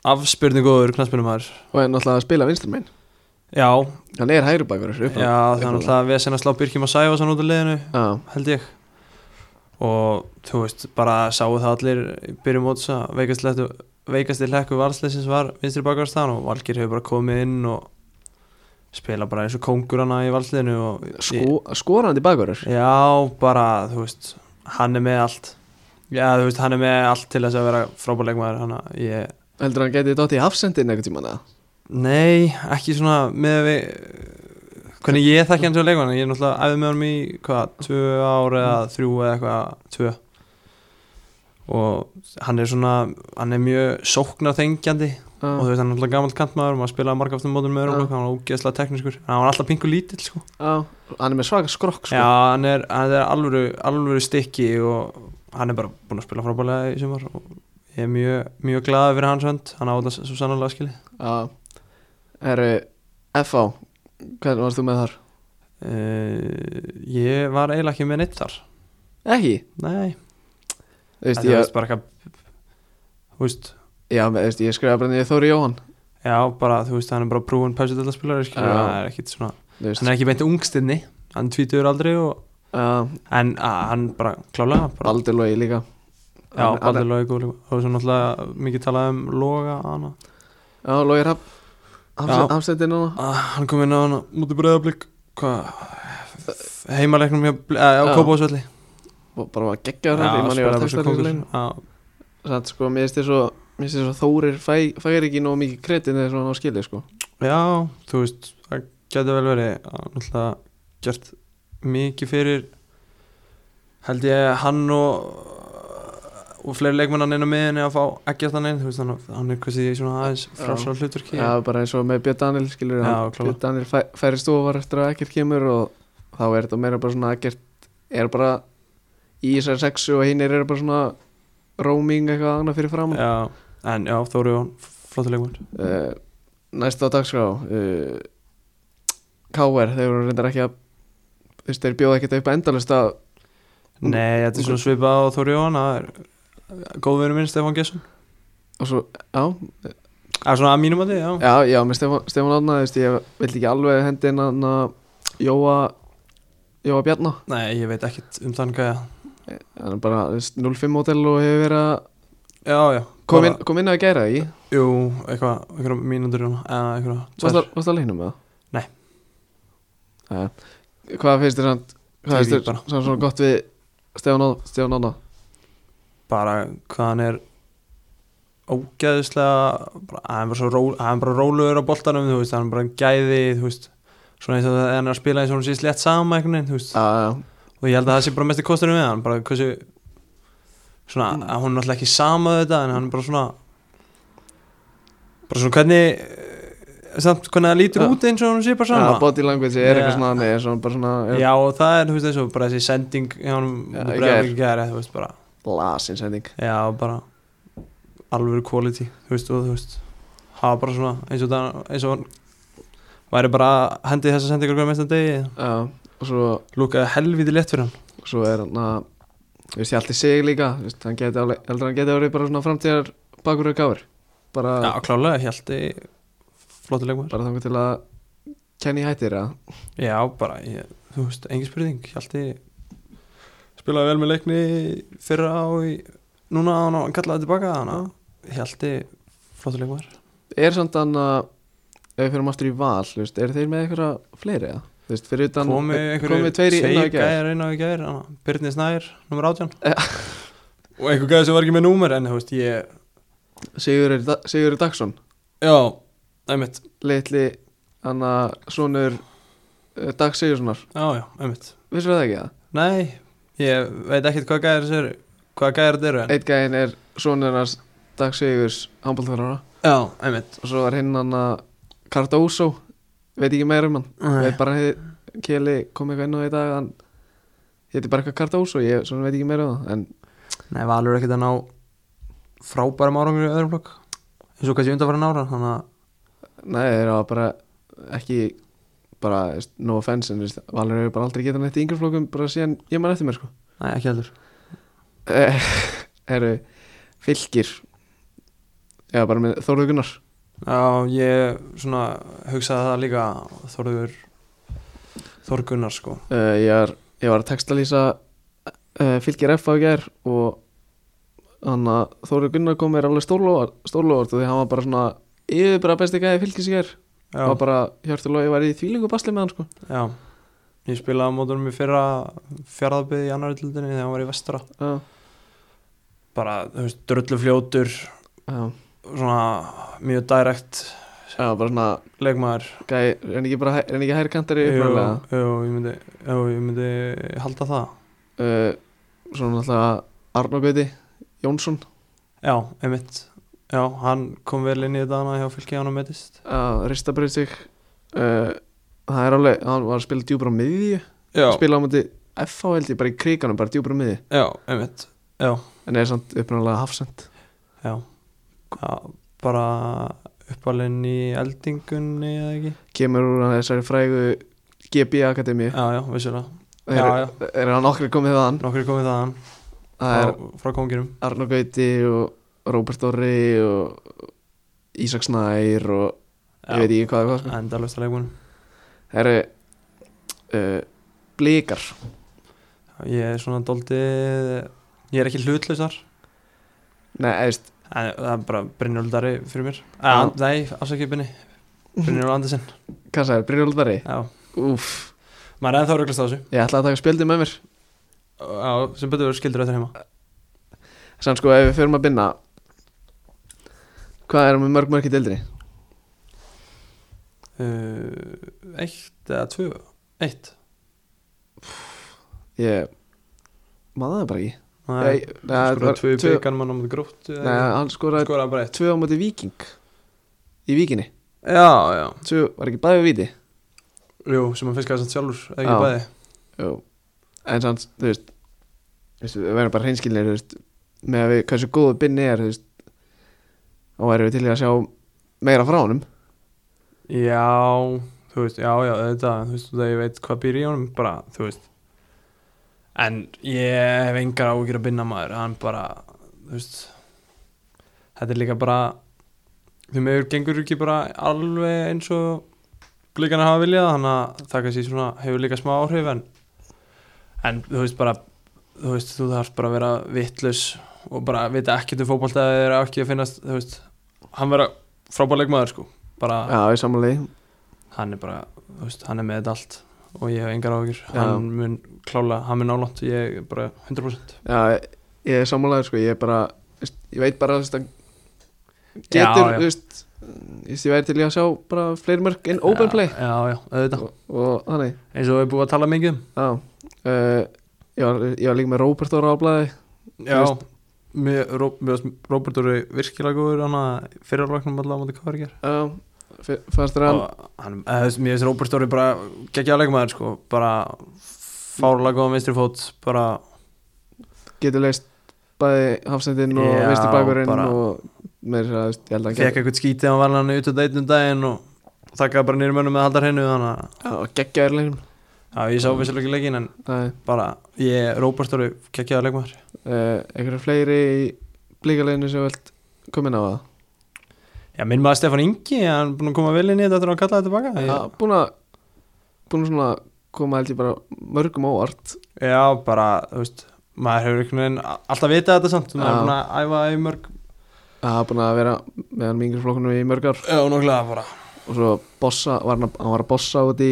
S2: afspyrning góður knattspyrnumæður
S1: Og er náttúrulega að spila vinstur minn
S2: Já,
S1: Hann er hægri bakur
S2: já, þannig að við sinna slá Birkjum að sæfa sann út af liðinu
S1: Já,
S2: held ég og þú veist, bara sáu það allir í byrjum móts að veikast veikasti hlekku valsleysins var vinstri bakvarstaðan og Valgir hefur bara komið inn og spila bara eins og kóngur hana í valsliðinu og
S1: sko, skorandi bakur
S2: já, bara, þú veist hann er með allt já, þú veist, hann er með allt til þess að vera frábæleikmaður hann að ég
S1: Heldur hann getið dótt í hafsendin einhvern tímann eða?
S2: Nei, ekki svona með við hvernig ég þekki hann svo leikmann ég er náttúrulega æfði með hann í hvað, tvö ár eða
S1: Mm.
S2: þrjú eða eitthvað tvö og hann er svona hann er mjög sóknarþengjandi og þú
S1: Já,
S2: veist hann er náttúrulega gamalt kantmaður og maður spilaði margaftum mótum með örum
S1: Já.
S2: og hann var ógeðslega teknískur en hann var alltaf pingu lítill sko.
S1: já, hann er með svaka skrokk
S2: Já,
S1: sko
S2: hann er, hann er alvöru, alvöru stikki og hann er bara búin að spila frábælega í sumar og ég er mjög, mjög glaðið fyrir hans hönd hann á þetta s- svo sannlega skili
S1: Já, eru F.A. Hvernig varst þú með þar?
S2: Uh, ég var eiginlega ekki með neitt þar
S1: Ekki,
S2: Nei,
S1: þú veist,
S2: þetta
S1: ég,
S2: var bara eitthvað Þú veist,
S1: já, með- þú veist, ég skrifa bara niður Þóri Jóhann
S2: já bara, þú veist, hann er bara prúin pæsudellaspilari, skilur,
S1: Já.
S2: hann er ekkit svona
S1: Þú veist,
S2: Hann er ekki beint ungstinni, hann tvítur aldrei og
S1: Já,
S2: En að, hann bara, klálega bara,
S1: Baldur Lói líka
S2: Já,
S1: Hann- hann-
S2: Baldur Lói Góli Það var svo náttúrulega mikið talað um Loga hana
S1: Já, Lói Rapp
S2: Já.
S1: Hafsendin núna
S2: ah, Hann kom inn á hana múti breyðablík Hvað Heimaleiknum hjá, Bl- eh, á
S1: Já.
S2: Kópásvelli
S1: og bara var geggjaður hann, ég manni var að texta líka leinu
S2: Já,
S1: Satt sko, mér finnst þér svo Mér finnst þér svo Þórir fæ, fær ekki nóg mikið kretin þegar svona á skilið sko
S2: já, þú veist Það geti vel verið að Náttúrulega gert mikið fyrir Held ég hann og og fleiri leikmennan inn á miðinni að fá ekkert hann inn, þú veist hann, hann er hversi svona aðeins frásra hluturki
S1: Já, bara eins og með Björn Daniel skilur
S2: Já,
S1: hann,
S2: klálega.
S1: Björn Daniel fæ, færi stofar eftir að ekkert kemur og þá er þetta meira bara svona ekkert er bara í þessari sexu og hinnir eru bara svona roaming eitthvað annað fyrir fram
S2: Já, en já, Þóri Jón, flottur leikmenn
S1: uh, Næsta á dagskrá uh, KR, þeir voru reyndar ekki að þú veist, þeir bjóða ekkert upp endalist að
S2: Nei, þetta er svona svipað á Þóri Jón það er góðvinni minn Stefán Gesson
S1: og svo, já,
S2: Það er svona að mínum að þið, já
S1: já, já, með Stefán, Stefán Árna þú veist, ég vildi ekki alveg hendi inn hann að Jóa Jóa Bjarna,
S2: Nei, ég veit ekkit um þann gæja
S1: hann er bara þú veist, 05 model og hefur verið að
S2: Já, já
S1: kom
S2: bara-
S1: inn, kom inn að gera ekki
S2: Jú, eitthvað, eitthvað mínundur Jón eða eitthvað, tvær
S1: varst það leiknum með það?
S2: Nei.
S1: Nei. Hvað finnst þér samt hvað
S2: Því
S1: finnst þér
S2: bara.
S1: samt svona gott við Stefán Árna- Stefán Árna?
S2: bara hvað hann er ógæðislega bara, hann er bara svo ró, hann er bara róluður á boltanum þú veist, hann er bara gæði, þú veist svona eins og það hann er að spila eins og hann sé slétt sama einhvern veginn, þú veist
S1: Já, já,
S2: og ég held að það sé bara mest í kostunum við hann bara hversu svona,
S1: Mm.
S2: að hún er náttúrulega ekki sama við þetta en hann er bara svona bara svona hvernig eh, samt hvernig það
S1: Já.
S2: lítur út eins og hún sé bara
S1: já,
S2: sama
S1: body language er
S2: Já.
S1: eitthvað svona þannig, er svona bara svona er
S2: já og það er þú veist eins og bara þessi sending hjá hann
S1: Já, í
S2: bara ekki gæri þú veist bara
S1: lasin sending
S2: já bara alveg quality þú veist og þú veist hafa bara svona eins og það eins og hann væri bara að hendi þessa sendingar hverja mestan degi
S1: já, og svo,
S2: lúkaði helviti létt fyrir hann
S1: svo er hann að þú veist, ég alltaf sig líka þú veist, hann geti alveg, heldur hann geti alveg bara svona framtíðar bakur og gáður bara,
S2: já klálega heldi flottulegum
S1: bara þangur til að kenni hættir að
S2: Já, bara, ég, þú veist, engin spurning Hjalti spilaði vel með leikni fyrra á í, núna á hann og kallaði tilbaka hana Hjalti, flottur leikmar
S1: er samt hann að ef við fyrir aftur í val, þú veist, eru þeir með eitthvað fleiri eða? Þú veist, fyrir utan
S2: komi
S1: eh, komi tveir í inn á í gær
S2: gæðir inn á í gæðir Byrni Snær, nummer 18
S1: Já.
S2: og einhver gæði sem var ekki með númer en þú veist, ég
S1: Sigurður Da- Sigurður Dagsson
S2: já, einmitt,
S1: litli hann að sonur eh, Dags Sigurðssonar,
S2: já, já, einmitt
S1: vissir það ekki það?
S2: nei, ég veit ekkert hvað gæðir þessu eru hvað gæðir þetta eru en
S1: Eitt gæðin er sonur hans Dags Sigurðs handbólþjálfara
S2: já, einmitt
S1: og svo var hinn hann að Cardoso, veit ekki meira um hann
S2: Nei.
S1: veit bara hefði Keli kom eitthvað inn á í dag hann heiti bara eitthvað Cardoso, ég svona veit ekki meira um það en
S2: Nei, Valur er ekkert að ná frábærum árangur í öðrum flokk eins og kannski undanfæra nára þannig að
S1: nei, þeir eru bara ekki bara, þú veist, no offense en þú veist, Valur hefur bara aldrei getað neitt í yngreflokkum bara síðan ég man eftir mér sko
S2: Nei, ekki heldur
S1: Eh, Herru, fylgir Já, bara með Þórður Gunnar
S2: Já, ég svona hugsaði það líka Þorður Þorð Gunnar sko
S1: uh, ég, var, ég var að textalýsa uh, fylgir F á í gær og hann að Þórður Gunnar kom mér alveg stórlóvart stórlóvart og því hann var bara svona yfir bara besti gæði fylgis í gær
S2: Já,
S1: og bara Hjörtur Lói var í þvílingu basli með hann sko
S2: já Ég spilaði á mótunum í fyrra fjaraðbyði í annar öllundinni þegar hann var í vestra
S1: Já,
S2: bara, þú veist, drullu fljótur
S1: já,
S2: svona mjög direkt
S1: já, bara svona
S2: leikmaður
S1: gæði, reyni ekki bara hæ- reyni ekki hæri kantari
S2: Jú,
S1: uppræðlega
S2: jú, ég myndi, jú, ég myndi halda það
S1: uh, Svona náttúrulega Arnó Gauti Jónsson
S2: Já, einmitt Já, hann kom vel inn í þetta hana hjá fylki hann og meðist
S1: að rista breyt sig uh, það er alveg, hann var að spila djúbra á miðju,
S2: Já,
S1: spila á móti FH held ég bara í kriganum, bara djúbra á miðju
S2: já, einmitt Já,
S1: en er samt uppnáðlega hafsend
S2: já Já, bara uppalinn í eldingunni eða ekki
S1: kemur úr þessari frægu GB Akademíu
S2: Já, já, vissulega
S1: er,
S2: Já, já.
S1: er hann okkur komið þaðan
S2: Nokkur er komið þaðan
S1: það er
S2: frá, frá konginum
S1: Arnur Gauti og Róbert Orri og Ísak Snær og ég veit ekki hvað og hvað sko.
S2: Enda lösta leikunum
S1: það eru uh, blikar
S2: Ég er svona doldið Ég er ekki hlutlaus þar
S1: Nei, eðst,
S2: En það er bara Brynjóldari fyrir mér
S1: Já.
S2: ah. Nei, afsakið Brynni Brynjóld Andersen
S1: hvað sagði, Brynjóldari
S2: Já,
S1: Úf,
S2: maður er ennþá röglast á þessu
S1: ég ætla að taka spjöldi með mér
S2: Já, sem betur verður skildur þetta heima
S1: Sann sko, ef við förum að binna Hvað erum við mörg mörg í deildinni?
S2: uh, Eitt eða tvö Eitt
S1: Ég maður það bara ekki
S2: Nei,
S1: Nei, nei, það
S2: skora
S1: var
S2: tvö í
S1: tvö-
S2: byggan mann á múti grótt
S1: Nei, hann skoraði
S2: skoraði bara eitt
S1: tvö á móti viking Í vikinni
S2: Já, já
S1: Tvö, var ekki bæði við viti
S2: Jú, sem hann fiskaði samt sjálfur eða ekki
S1: Já.
S2: bæði
S1: Jú. En samt, þú veist veistu, Við verðum bara hreinskilinir, þú veist Með að við, hversu góðu binni er, þú veist Og erum við til í að sjá meira frá honum
S2: Já, þú veist, já, já, þetta, þú veist, það ég veit hvað býr í honum, bara, þú veist. En ég hef engar ágjur að binna maður, hann bara, þú veist, þetta er líka bara, þú meður gengur ekki bara alveg eins og glíkana hafa viljað, þannig að það kannski svona hefur líka smá áhrif, en, en þú veist bara, þú veist, þú þarf bara að vera vittlaus og bara vita ekkert um fótbolta eða er ekki að finnast, þú veist, hann vera frábæleik maður, sko, bara
S1: Já, í samanlegi
S2: hann er bara, þú veist, hann er með þetta allt og ég hef engar áhyggjur
S1: Já.
S2: hann mun klála, hann mun álátt ég er bara 100%
S1: Já, ég er samanlegaður, sko Ég er bara, þú veist, ég veit bara, þú veist hann Getur,
S2: já.
S1: þú veist Ég veist, ég væri til í að sjá bara fleiri mörg En open
S2: já,
S1: play
S2: já, já, auðvitað,
S1: Og, og þannig
S2: eins og við erum búið að tala mikið um.
S1: Já, uh, ég, var, ég var líka með Róbert ára á blæði
S2: já, mér, Ró, mér varst Róbert eru virkilega góður hann að fyrirlöknum allavega á móti hvað er ger
S1: Já, f- fannst þér hann
S2: hann, eða, þú veist, mér finnst Róbert eru bara geggjaða leikmaður, sko, bara fárlega góða meistri fót bara,
S1: getur leist bæði hafsendinn og
S2: Já,
S1: veistir bakurinn
S2: bara-
S1: og með þess að þú veist, ég held að hann
S2: fekk eitthvað skítið hann var hann út að deitum daginn og þakkaði bara nýri mönnum með að halda hreinu þannig að,
S1: gegn geggjaður leiknum
S2: já, ég sá vissulega ekki leikin en
S1: Það er,
S2: bara, ég, Róbert eru geggjaða leikmaður
S1: uh, einhverju fleiri í blíkaleginu sem vilt koma inn á það
S2: Já, minn maður Stefán Ingi, hann er búin að koma vel inn í þetta eftir að hann kallaði tilbaka
S1: Já,
S2: ég,
S1: búin að búin að svona koma held ég bara mörgum óvart
S2: Já, bara, þú veist, maður hefur einhvern veginn a- alltaf vitað þetta samt, maður
S1: Já.
S2: er búin að æfa í mörg
S1: að búin að vera með hann mingur flokkunum í mörg ár
S2: Já, nokkulega bara
S1: og svo bossa, var hann, að, hann var að bossa út í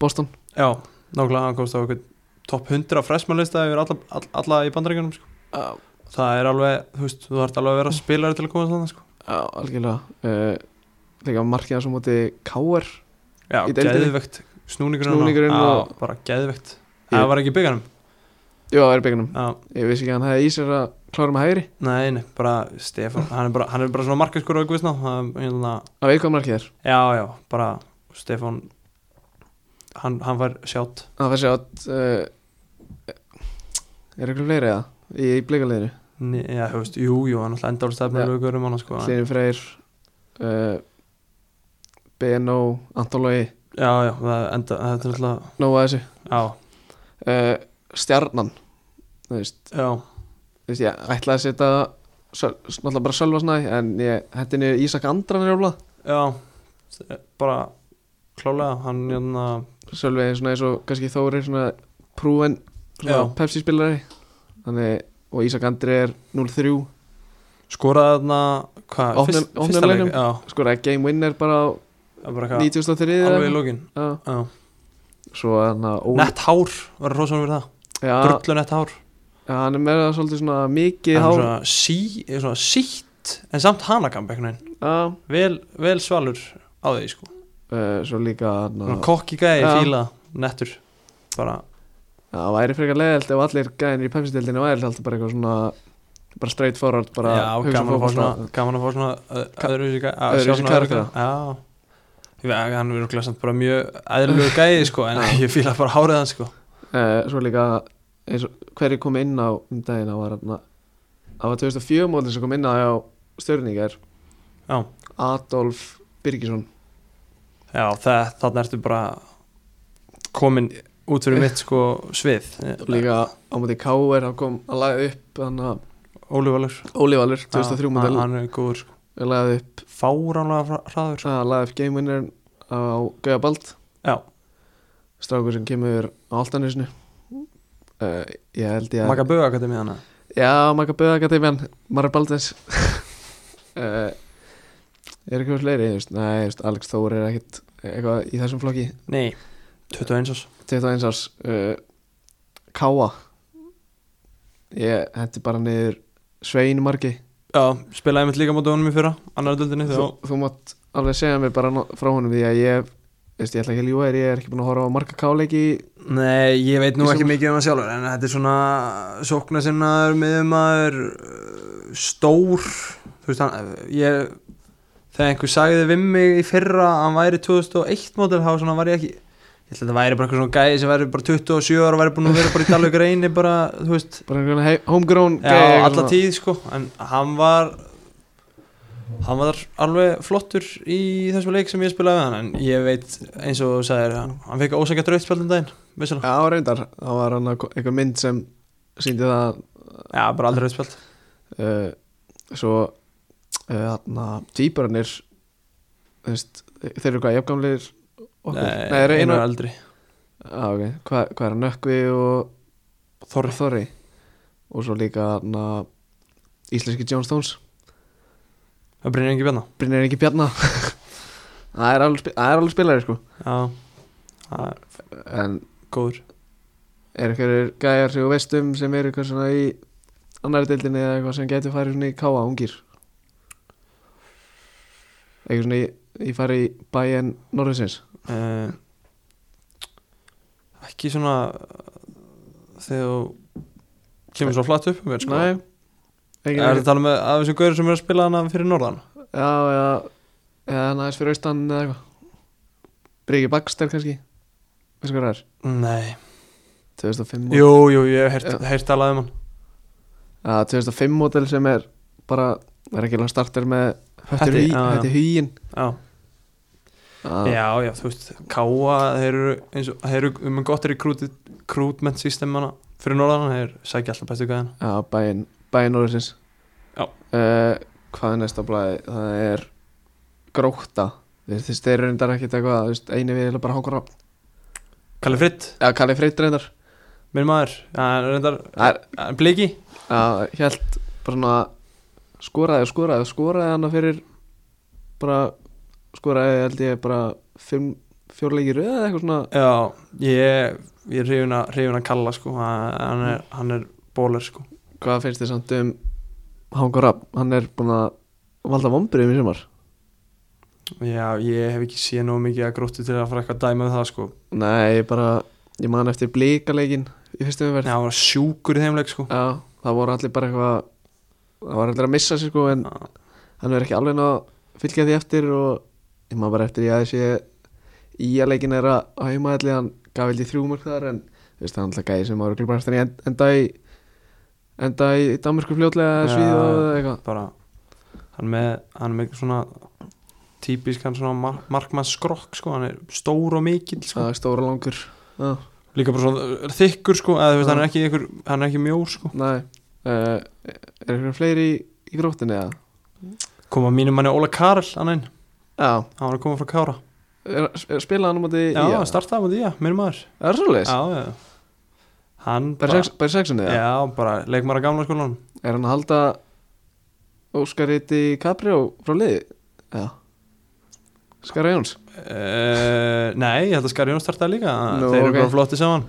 S1: Boston
S2: Já, nokkulega, hann komst á einhvern topp 100 freshmanlista yfir alla, alla, alla í bandaríkjunum sko.
S1: Já,
S2: Það er alveg, þú veist, þú þarf alveg að vera spilari til að komast þannig sko.
S1: já algjörlega uh, líka markið hans á móti K.R.
S2: Já,
S1: Í deildinni?
S2: geðveikt, snúningurinn á-
S1: Snúningurinn
S2: Já,
S1: og-
S2: bara geðveikt
S1: Ég-
S2: Það var ekki í bygganum
S1: Jú, það er byggunum
S2: Já,
S1: Ég vissi ekki að hann hefði í sér að klára með hægri
S2: nei, nei, bara Stefán, hann er bara, hann er bara svona markaskur og guðsná, það er hérna
S1: Það veit hvað markið er
S2: Já, já, bara Stefán hann, hann var sjátt
S1: Það fær sér að uh, Er eitthvað fleiri eða? Í, í blíkaliðinu
S2: Nei, Já, þú veist, jú, jú, hann alltaf endálega
S1: Já.
S2: stefnir lögur um hann sko. en-
S1: Hlynur Freyr uh, BNO Antolói
S2: Já, já, það enda, þetta er alltaf
S1: Nóa þessu
S2: Já,
S1: uh, Stjarnan Þú veist,
S2: já,
S1: þú veist Ég ætlaði að setja Söl- Náttúrulega bara Sölva Snæ En ég hætti niður Ísak Andran er oflað
S2: já s- bara klálega, hann hérna
S1: Sölvi er svona eins og kannski Þóri Svona prúen Svona
S2: Já.
S1: Pepsi spilari Þannig Og Ísak Andri er 0-3
S2: skoraði þarna hvað,
S1: Opnum-
S2: fyrst-
S1: opnum
S2: fyrsta leik
S1: leiknum?
S2: Já,
S1: skoraði Sko, game winner bara á
S2: það er bara hvað,
S1: 93
S2: alveg í
S1: eða-
S2: lókin
S1: Já.
S2: Já,
S1: svo hann að Óli-
S2: nett hár, var að rosa hann fyrir það
S1: já,
S2: Drullu nett hár,
S1: já, hann er meira svolítið svona mikið
S2: hann er
S1: hár
S2: svona, sí, svona sítt en samt hanakamp einhvern veginn
S1: já,
S2: Vel, vel svalur á því sko
S1: uh, svo líka hann
S2: Svona
S1: að-
S2: kokki gæði,
S1: Já.
S2: fíla, nettur bara,
S1: Já, það væri frekar leðilt ef allir gæðin í pepsildinni væri alltaf bara eitthvað svona bara straight forward bara
S2: já,
S1: hugsa
S2: gaman að, fá
S1: fótbolta.
S2: svona, gaman að fá svona
S1: Ka-
S2: öðruvísi gæði
S1: öðruvísi karaktera.
S2: já, ég veit að hann verður glæsamt bara mjög aðlugur gæði sko en ég fíla bara hárið hans sko
S1: uh, svo líka eins og hverju kom inn á um daginn það var hann að það var 2004 mótin sem kom inn á hjá stjörningar
S2: já,
S1: Adolf Birgisson
S2: já það, þannig ertu bara komin út fyrir mitt sko svið
S1: líka á móti K.R. hann kom að laga upp hann að
S2: Ólivalur
S1: Óli Valur 2003 mótel
S2: hann er góður sko
S1: laði upp,
S2: fáránlega hraður sko.
S1: að laði upp game winner á Gauja Bald
S2: já,
S1: strákur sem kemur á Altanisnu uh, ég held ég að
S2: Magga Böga hvað er með hana
S1: Já, maður kan byrja akademian Mara Baldins uh, Er ekki úr fleiri, þú veist Nei, þú veist, Alex Þór er ekkit eitthvað í þessum flokki
S2: Nei, 21 árs
S1: 21 árs uh, Káa Ég hendi bara niður Svein Margi
S2: Já, spilaði mitt líka móti honum í fyrra annar döldinni
S1: þú,
S2: þegar
S1: þú mátt alveg segja mér bara no- frá honum því að ég Veist, ég ætla ekki að ljúga þér, ég er ekki búin að horfa á marga káleiki
S2: Nei, ég veit nú
S1: Í
S2: ekki
S1: sumar.
S2: mikið um það sjálfur en þetta er svona sókna sinnaður miðumæður stór þú veist hann ég, þegar einhver sagði við mig í fyrra að hann væri 2001 mótil þá svona var ég ekki ég held að þetta væri bara eitthvað svona gæði sem væri bara 27 ára og væri búin að vera bara í dalveg reyni bara þú veist
S1: bara einhvern hei- homegrown
S2: Já,
S1: gæi, eitthvað
S2: alla
S1: svona.
S2: tíð sko En hann var Hann var alveg flottur í þessum leik sem ég spilaði við hann En ég veit eins og þú sagðir Hann, hann fekk ósækja drautspjaldum um daginn Vissulega
S1: Já, reyndar, það var hann að- einhver mynd sem síndi það að
S2: Já, bara aldrei drautspjald
S1: uh, svo uh, þarna týpurannir þú veist, þeir eru hvað jafngamlir okkur, nei, þeir eru
S2: einu
S1: einu
S2: er eldri
S1: ah, okay. hvað, hvað er hann, Nökkvi og
S2: Þorri
S1: Þorri og svo líka þarna íslenski John Stones,
S2: Það brynir ekki björna
S1: Brynir ekki Bjarna það er alveg, spi- það er alveg spilari sko
S2: Já, það er
S1: en
S2: góður
S1: er einhverjir gæjar sem þú veist um sem eru eitthvað svona í annari deildinni eða eitthvað sem getur farið svona í káa ungir eitthvað svona í, í farið í bæinn Norðinsins
S2: uh, Ekki svona eh, Þegar þú Kemur svo flatt upp um mér, sko.
S1: Nei
S2: Er
S1: ekki
S2: það
S1: neitt
S2: að tala með af þessum gauður sem er að spila hana fyrir norðan
S1: Já, já Eða næst fyrir austan eða eitthvað Bryggi Baxter kannski Veist hvað það er?
S2: Nei
S1: 2005 mót-
S2: Jú, jú, ég hef
S1: Já.
S2: heyrt- heyrt talað um hann
S1: Já, 2005 mótel sem er bara er ekki alveg starter með Höttur
S2: Hætti,
S1: hý,
S2: já, já.
S1: hætti hýin
S2: Já, já, já, þú veist, Káa, þeir eru, eins og, þeir eru um en gott er í krútment systemana fyrir norðan, þeir sækja alltaf bestu gæðina.
S1: Já, bæinn Bæinn Norðursins
S2: Já.
S1: Eh, Hvað er næsta blæði? Það er Gróta Þú veist, Þeir eru reyndar ekkert eitthvað þú veist, Einu við er bara hákur á
S2: Kalli Fritt,
S1: Já, Kalli Freyt reyndar
S2: minn maður, hann reyndar,
S1: Það er
S2: hann bliki,
S1: Já, held bara svona skoraði og skoraði og skoraði hana fyrir bara skoraði held ég bara fimm, fjórleiki röð eða eitthvað svona
S2: já, ég, ég er hrifin að, hrifin að kalla, sko, hann hann er, hann er bóler, sko.
S1: hvað finnst þið samt um Hangur Rapp, hann er búin að valda vombriðum í sumar
S2: Já, ég hef ekki séð nóg mikið að gróttu til að fara eitthvað dæma um það, sko.
S1: Nei, ég bara, ég man eftir blíkaleikin í fyrstum
S2: Já,
S1: umverð Já,
S2: hann var sjúkur í þeim leik, sko.
S1: það voru allir bara eitthvað það var allir að missa sig sko en
S2: Já.
S1: hann verður ekki alveg ná að fylgja því eftir og ég maður bara eftir í aðeins ég í að leikin er að hauma allir hann gaf held í þrjúmörk þar en þú veist það er alltaf gæði sem ára klubarastan í en- enda í enda í Danmarku fljótlega
S2: Já,
S1: ja. svíð og
S2: já.
S1: eitthvað
S2: bara hann er með, hann er með svona típiskan svona mar markmann skrokk sko, hann er stór og mikill sko.
S1: það er stóra langur Já,
S2: líka bara svona uh, þykkur sko, eða þú veist
S1: Já.
S2: hann er ekki, ykkur, hann er ekki mjór sko.
S1: nei uh, er eitthvað fleiri í, í gróttinni eða?
S2: koma mínum manni Óla Karl hann einn,
S1: Já,
S2: hann var að koma frá Kára
S1: er, er, spilaði hann á móti
S2: já, hann startaði með því, já, minn maður já,
S1: Er það svolítið?
S2: já. hann
S1: Bara í sex- bara í sexunni
S2: já.
S1: eða?
S2: bara leikmar að gamla skólanum
S1: Er hann að halda Óskariti Caprio frá liði? Já Skara Jóns
S2: uh, nei, ég held að Skari Jón startaði líka
S1: Nú,
S2: þeir eru
S1: ok.
S2: bara flotti saman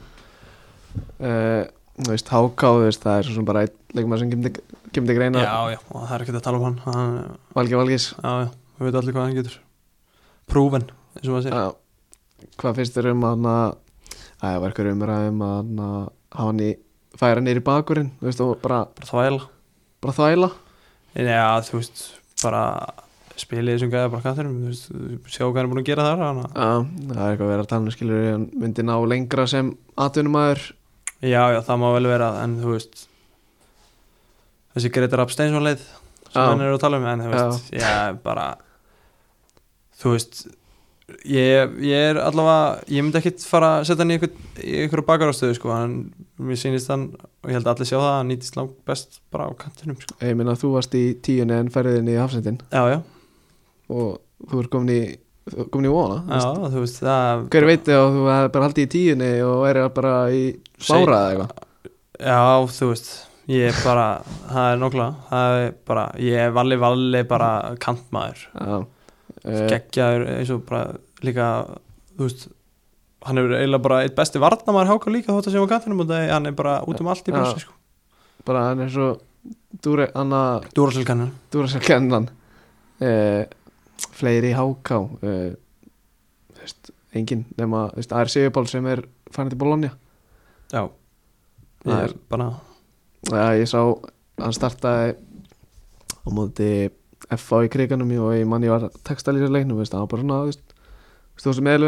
S1: Eh, Þú veist, háká, þú veist, það er svo sem bara einn leikmaður sem kemdi, kemdi greina
S2: já, já, og það er ekkert að tala um hann, hann
S1: Valgi Valgis
S2: já, já, við veitum allir hvað hann getur prúven, eins og maður segir
S1: Já. Hvað finnst þér um að að það var eitthvað umræðum að hana- hafa hann í færa nýri bakurinn, þú veist, og bara,
S2: bara þvæla
S1: bara þvæla
S2: En Já, þú veist, bara spilið þessum gæða bara kattinum, þú veist, sjá hvað hann er búin að gera þar, hann að,
S1: Já, það er eitthvað að vera að tala um skilur hann myndi ná lengra sem atvinnumæður
S2: já, já, það má vel vera, en þú veist, þessi Gretar Absteinsson leið, sem
S1: Já.
S2: hann er að tala um, en þú veist, já, bara, þú veist, ég, ég er allavega, ég myndi ekkit fara að setja hann í einhver, í einhverju bakarástöðu, sko, hann, mér sýnist hann, og ég held að allir sjá það, hann nýtist langt best bara á kantinum, sko,
S1: Ég minna að þú varst í tíunni en færiðin í hafsendin
S2: já, já,
S1: og þú er komin í, þú ert komin í vona þú
S2: já,
S1: veist.
S2: þú veist, það,
S1: Hver veit ef þú hefði bara haldið í tíunni og væri bara í
S2: Seg-
S1: bára eða eitthvað
S2: Já, þú veist Ég er bara, það er nokkla Það er bara, ég er valli valli bara kantmaður
S1: Já, uh,
S2: Geggjaður eins og bara líka Þú veist Hann er eiginlega bara eitt besti varnamaður háka líka þótt að séu á kantinum og það er, hann er bara út um allt í
S1: Já.
S2: brúsi sko.
S1: bara hann er svo dúre, anna,
S2: Dúraselkannin
S1: dúra sér kennan uh, fleiri í háká uh, veist, engin nema, þú veist, Ari Sigurból sem er fannig til Bologna
S2: Já Ég
S1: Það
S2: er bara
S1: Já, ég sá, hann startaði á móti FA í kriganum og ég mann ég var textalýsar leiknum, veist, hann var bara svona, þú veist stóð sem vel,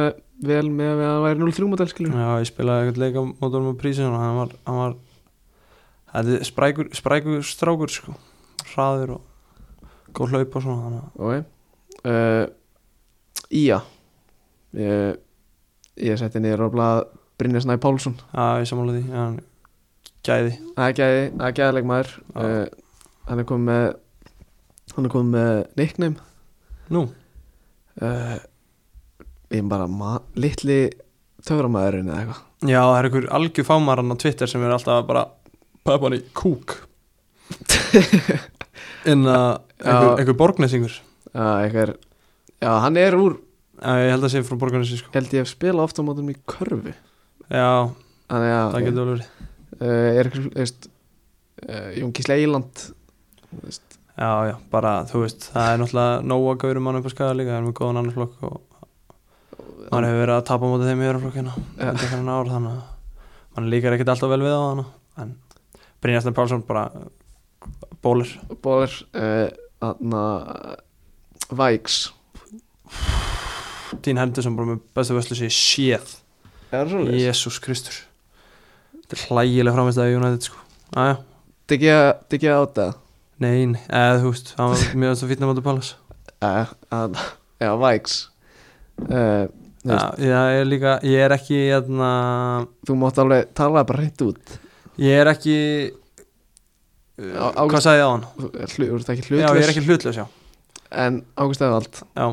S1: vel með að hann væri 0-3 mótel, skilur
S2: Já, ég spilaði eitthvað leika mótur með prísinu og hann var, hann var þetta er sprækur, sprækur strákur sko, hraður og góð hlaup og svona þannig.
S1: Ok uh, Ía Ég, ég setti niður og blað Brynjar Snæ Pálsson
S2: að- Já, ég samála því, já, hann gæði
S1: Ægæði, ægæðileg maður
S2: Já.
S1: uh, Hann er komið með Hann er komið með nickname
S2: Nú,
S1: uh, Ég er bara ma- Litli töframæðurinn eða eitthvað
S2: já, það er einhver algjör fámarann á Twitter sem er alltaf bara pöpan í kúk en að einhver,
S1: Já.
S2: einhver borgnesingur
S1: Já, eitthvað er Já, hann er úr,
S2: Já, ég held að sé frá borgarnesi sko
S1: held ég að spila ofta á mótum í körfu
S2: Já,
S1: Þannig að
S2: það getur vel verið
S1: uh, er eitthvað, þú veist uh, Jón Gísli Eiland
S2: Já, já, bara, þú veist, það er náttúrulega nóga gaurum mann upp á skæða líka, það er með góðan annar flokk og mann hefur verið að tapa á móti þeim í öðrum flokkina undanfarinn ár, þannig að mann líkar ekkert alltaf vel við á hana en Brynjarsson Pálsson bara bólir
S1: Bóler Þannig að Vægs
S2: Dín Henderson bara með bestu vöslu sér séð
S1: Er það svolítið?
S2: Jésús Kristur Þetta er hlægilega framist að United sko Aja,
S1: Diggi að átta
S2: nein, eða þú veist það var mjög að það fýtna móti Pallas
S1: Eh, að- Já, Vægs uh, Þú veist.
S2: Já, ég er líka, ég er ekki hérna,
S1: Þú mátt alveg tala bara hreint út
S2: ég er ekki
S1: Á-
S2: hvað
S1: Ágúst-
S2: sagði ég á hann?
S1: Þú ert hlu- þú ert ekki
S2: Já, ég er
S1: hlutlaus
S2: ekki hlutlaus, já
S1: En Ágúst Eðvald
S2: Já,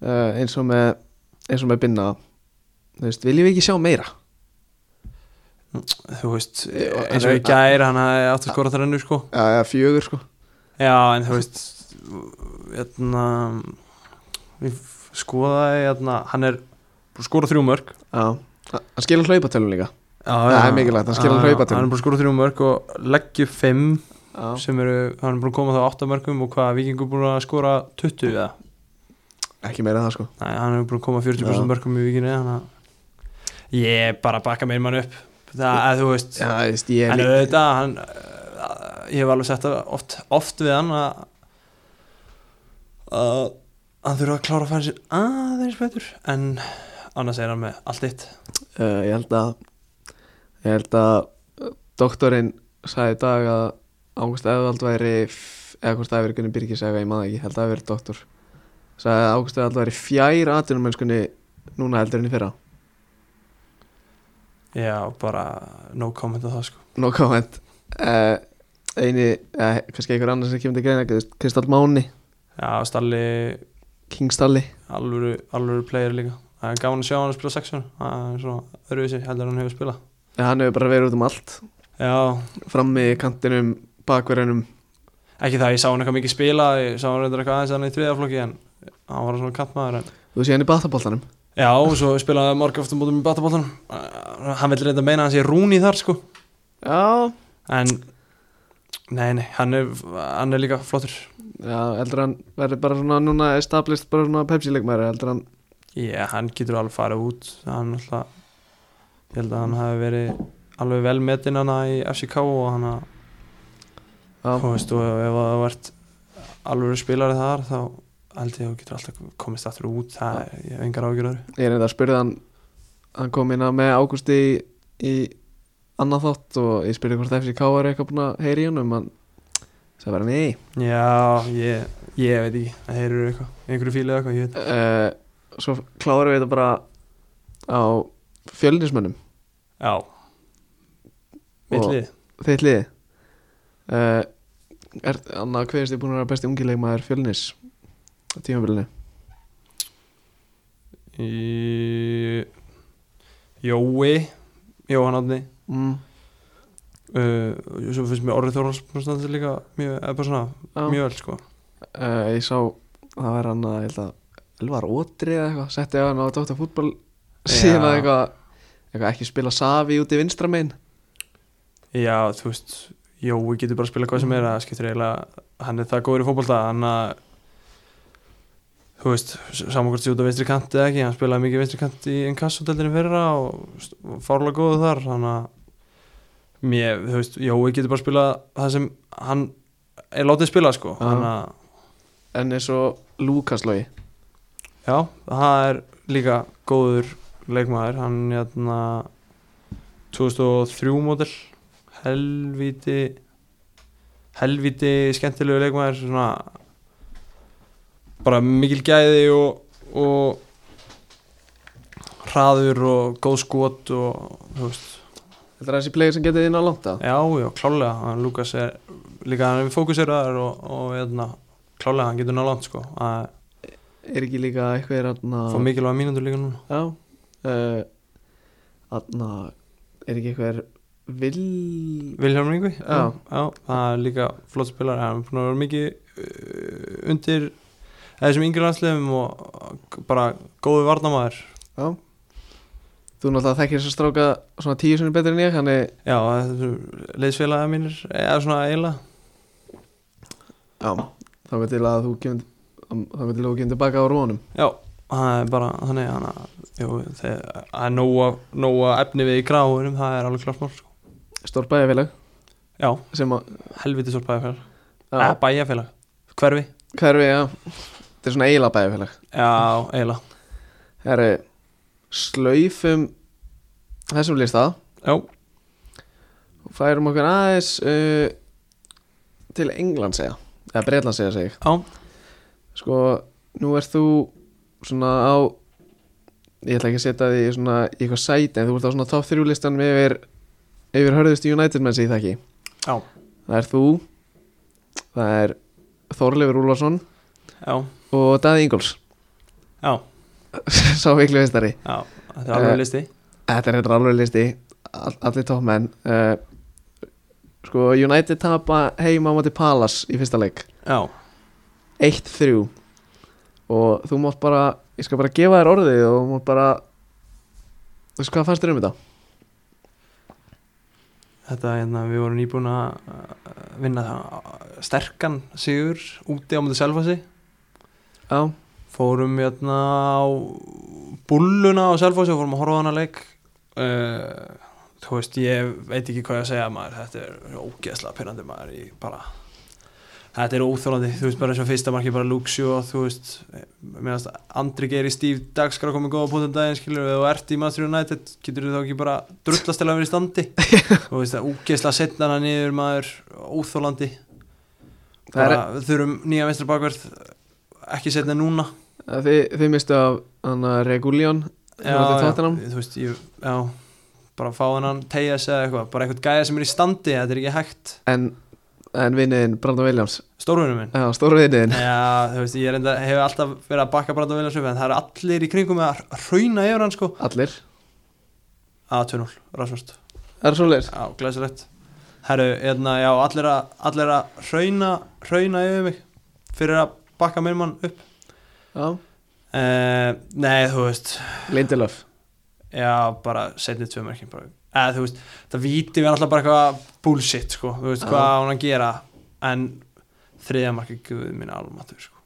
S1: uh, eins og með eins og með Binna Þú veist, viljum við ekki sjá meira?
S2: þú veist,
S1: Já,
S2: eins og
S1: en-
S2: ég gæri hann hafði átt að skora þrennu, sko
S1: Já, já, fjögur sko
S2: Já, en þú veist hérna ég skoðaði, hérna hann er búin að skora þrjú mörg
S1: Já, hann skilur hlaupatölun líka
S2: Það
S1: er mikilvægt, hann skilar hlaupa til.
S2: Hann er búin að skora þrjú mörg og leggju fimm
S1: Já,
S2: sem eru, hann er búin að koma þá átta mörgum og hvað, vikingur búin að skora 20 eða?
S1: ekki meira en það sko
S2: Nei, hann er búin að koma 40%
S1: Já.
S2: mörgum í vikinni, þannig að ég bara bakka meir mann upp það, að þú veist
S1: Já, þú veist, ég
S2: En
S1: er
S2: auðvitað, hann, uh, ég hef alveg sett það oft, oft við hann að að hann þurfa að klára að fara sér aðeins betur en annars er hann með allt eitt
S1: uh, Ég held að Ég held að uh, doktorinn sagði í dag að Ágúst Eðvald væri f- eða hvort það hefur Gunni Birgis eða eitthvað, ég maður ekki, ég held að það hefur doktor sagði að Ágúst Eðvald væri fjær atvinnumennskunni núna heldur enn í fyrra
S2: Já, bara no comment á það sko
S1: No comment uh, Eini, eða kannski einhver annar sem kemur til greina þú veist, Kristall Máni,
S2: Já, Stalli,
S1: Kingstalli
S2: alvöru, alvöru player líka Það er gaman að sjá hann að spila sexun Það er svona öðruvísi, heldur en hann hefur spilað
S1: ja, Hann hefur bara verið út um allt
S2: Já,
S1: Frammi, kantinum, bakverjunum
S2: ekki það, ég sá hann eitthvað mikið spila Ég sá hann reyndar eitthvað aðeins hann í þriðaflokki en hann var svona kampmaður en
S1: Þú sé hann í bataboltanum
S2: Já, og svo spilaði marg ofta mútum í bataboltan Hann vil reynda meina að hann sé rúni þar sko
S1: Já,
S2: En, nei, nei, hann er, hann er líka flottur
S1: já heldur hann verður bara svona núna established bara svona Pepsi-leikmæri heldur hann
S2: Já, hann getur alveg farið út Hann alltaf, ég held að hann hafi verið alveg vel metinn hana í FCK og hann að,
S1: Já,
S2: þú veist, og ef það vært alveg spilari þar þá held ég að þú getur alltaf komist aftur út það er, ég hef engar ágjörður
S1: Ég er enda að spurði hann hann kom inn að með Ágústi í, í annað þátt og ég spurði hvort FCK var eitthvað búin að heyri hann um hann sagði bara nei
S2: Já, ég, ég veit ekki, það heyrur eitthvað, einhverju fílið eitthvað, ég veit
S1: uh, Svo klárum við þetta bara á fjölnismönnum
S2: Já Mittlið
S1: þeir liði uh, Er annað hverjast ég búin að vera besti ungilegmaður fjölnis á tímabilinu
S2: Í- Jói Jóhann Átni
S1: mm.
S2: uh, svo finnst mér orðið Þórhalsbrunstandi líka mjög, eða bara svona,
S1: Já.
S2: mjög öll sko
S1: uh, ég sá það væri hann að ég held að Elvar Ótri eða eitthvað setti hann á Dóttar fútbol síðan að
S2: Já.
S1: eitthvað, eitthvað ekki spila Savi út í vinstra megin
S2: já, þú veist, Jói getur bara að spila hvað sem er að skiptir eiginlega hann er það góður í fótbolta, hann að þú veist, saman hvort sé út á vinstri kanti eða ekki, hann spilaði mikið vinstri kanti í inkassodeldinu fyrra og st- og fárlega góðu þar, þannig að mér, þú veist, Jói getur bara að spila það sem hann er látið spila sko,
S1: Já.
S2: þannig að
S1: en eins og Lukas Lógi
S2: Já, það er líka góður leikmaður hann hérna, jæna 2003 módel helviti helviti skemmtilegu leikmaður svona bara mikil gæði og, og hraður og góð skot og þú veist
S1: Þetta er þessi player sem getið inn á langt að
S2: já, já, klálega, hann Lukas er líka hann er fókuseraður og, og jæna, klálega, hann getur nálangt sko að
S1: Er ekki líka eitthvað hérna er aðna
S2: fá mikilvæga mínútur líka núna
S1: Já uh, Aðna Er ekki eitthvað er Vill
S2: Vilhelm Ringvi
S1: Já.
S2: það er líka flott spilar hann er búin að vera mikið uh, undir eða þessum yngri landsliðum og uh, bara góðu varnamaður
S1: Já Þú náttúrulega þekkir þess að stráka svona tíu sinni betur en ég Þannig
S2: já, þessu leiðsfélagið mínir eða svona eiginlega
S1: Já Þá veit til að þú kemur Þá veit til að þú kemur tilbaka á rónum
S2: já, það er bara þannig hann að jú, þegar- það er nóga, nóga efni við í gráinum, það er alveg klart mál sko.
S1: Stór bæjarfélag
S2: já,
S1: Sem að
S2: helviti stór bæjarfélag
S1: já,
S2: eða bæjarfélag, hverfi
S1: Hverfi, já Þetta er svona eiginlega bæjarfélag
S2: já, eiginlega
S1: Herri Slaufum um Þessum lista
S2: já,
S1: Færum okkur aðeins uh, Til England segja Eða Breitland segja segi ég.
S2: já,
S1: Sko, nú ert þú svona á ég ætla ekki að setja þig í svona í eitthvað sæti en þú ert á svona top 3 listan með yfir, yfir hörðustu United menn segi það ekki
S2: já,
S1: Það er þú Það er Þorleifur Úlfarsson
S2: já,
S1: og Daði Ingolfs
S2: já,
S1: Sá miklu veistari
S2: já. þetta er alveg
S1: Eh,
S2: listi
S1: Þetta er þetta alveg listi all, Allir top menn uh, Sko, United tapa heima á móti Palace í fyrsta leik
S2: já,
S1: 1-3 og þú mátt bara ég skal bara gefa þér orðið og þú mátt bara þú veist hvað fannst þér um þetta?
S2: Þetta, hérna, við vorum nýbúin að uh, vinna það sterkan sigur úti á mútið Selfassi
S1: Já,
S2: fórum hérna á bulluna á Selfassi og fórum að horfa á hana leik uh, þú veist, ég veit ekki hvað ég að segja maður, þetta er ógeðslega pyrrandi maður, ég bara þetta er óþólandi, þú veist, bara eins og fyrsta marki bara Luxio, þú veist meðan Andri Geiri Stíf Dagskrá komið góða punktum um daginn, skilur við, og ert í Master United getur þú þá ekki bara drullast til að vera í standi þú veist, það úgeðslega setna hana niður maður, óþólandi
S1: Það er-
S2: bara, við þurfum nýja vinstri bakverð ekki setna núna
S1: þið, þið mistu af hana Regulion móti Tottenham.
S2: þú veist, ég, já bara fá hennan, tegja sig eða eitthvað bara eitthvað gæja sem er í standi, þetta er ekki hægt
S1: en, en vinniðin Brandon Williams
S2: stórvunum minn
S1: Já, stóru vinniðin
S2: Já, þú veist, ég reyndar, hef alltaf verið að bakka Brandon Williams upp en það eru allir í kringum með að hrauna yfir hann sko
S1: Allir
S2: að 2-0, rásvart
S1: Það er svoleiðis
S2: Já, glæsilegt Herru, hérna, já, allir að, allir að hrauna, hrauna yfir mig fyrir að bakka minn mann upp
S1: Já,
S2: uh, Nei, þú veist
S1: Lindelöf
S2: Já, bara setni tvö mörkin bara. Eða, þú veist, það víti við alltaf bara eitthvað bullshit, sko, þú veist,
S1: Já.
S2: hvað á hann að gera en þriðja marki guðið minna almatur, sko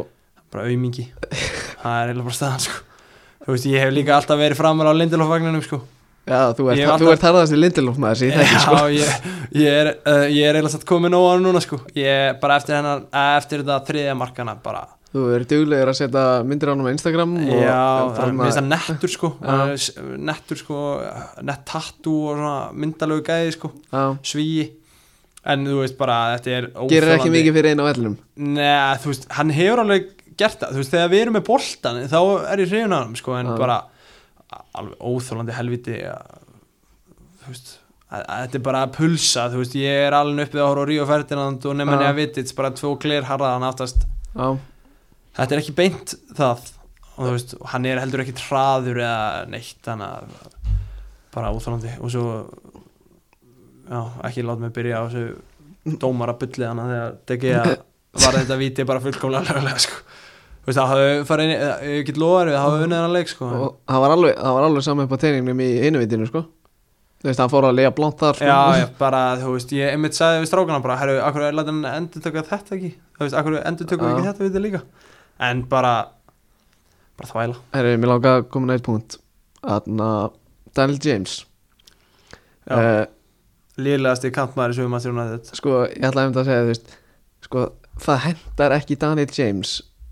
S1: Og-
S2: bara aumingi það er eiginlega bara staðan, sko þú veist, ég hef líka alltaf verið framar á Lindelof-vagninum, sko
S1: Já, þú ert,
S2: Ég hef
S1: þú
S2: alltaf-
S1: ert harðast í Lindelöf maður sem ég þekki sko
S2: Já, ég, ég er, uh, ég er eiginlega satt komin á hann núna, sko ég, bara eftir hennar, eh, eftir þetta þriðja markana, bara
S1: Þú ert duglegur að setja myndir á hann á Instagram og hérna,
S2: Já, það er
S1: þarna-
S2: minnst það nettur sko
S1: Já.
S2: Hann er s- nettur sko nett tattu og svona myndalögu gæði sko
S1: Já,
S2: svíi en þú veist bara að þetta er
S1: gerir ekki
S2: óþolandi.
S1: mikið fyrir einu á vellinum
S2: Nei, þú veist, hann hefur alveg gert það þú veist, þegar við erum með boltan þá er ég hrifin á hann sko, en
S1: Já.
S2: bara alveg óþólandi helviti að, þú veist að, að þetta er bara að pulsa, þú veist, ég er alveg uppið að horfa á Ríó Ferdinand og nefnir
S1: Já.
S2: að vitið bara tvo glir harðaðan aftast
S1: Já,
S2: þetta er ekki beint það og þú veist, hann er heldur ekki traður eða neitt þannig að bara óþálandi og svo já, ekki láta mig byrja á þessu dómara bullið hana þegar degi að var þetta víti bara fullkomlega lögulega sko Þú veist, það hafði farið inn, í- ég get lofa þér við, það hafði unnið hann leik sko en-
S1: og það var alveg, það var alveg saman upp á teiningnum í innvitinu sko þú veist, hann fór að lega blánt þar sko.
S2: Já, já, bara, þú veist, ég einmitt sagði við strákana bara, herru, akkur er hann endur taka þetta ekki þú veist, akkur endur tökum við ekki
S1: Já.
S2: þetta við þetta líka en bara, bara þvæla
S1: Herri, mér langar að koma nætt punkt Þannig að Daniel James
S2: Já.
S1: uh,
S2: Lýðlegasti kantmaður í sögum að þjóna þetta
S1: Sko, ég ætlaði um þetta að segja þú veist, Sko, það hendar ekki Daniel James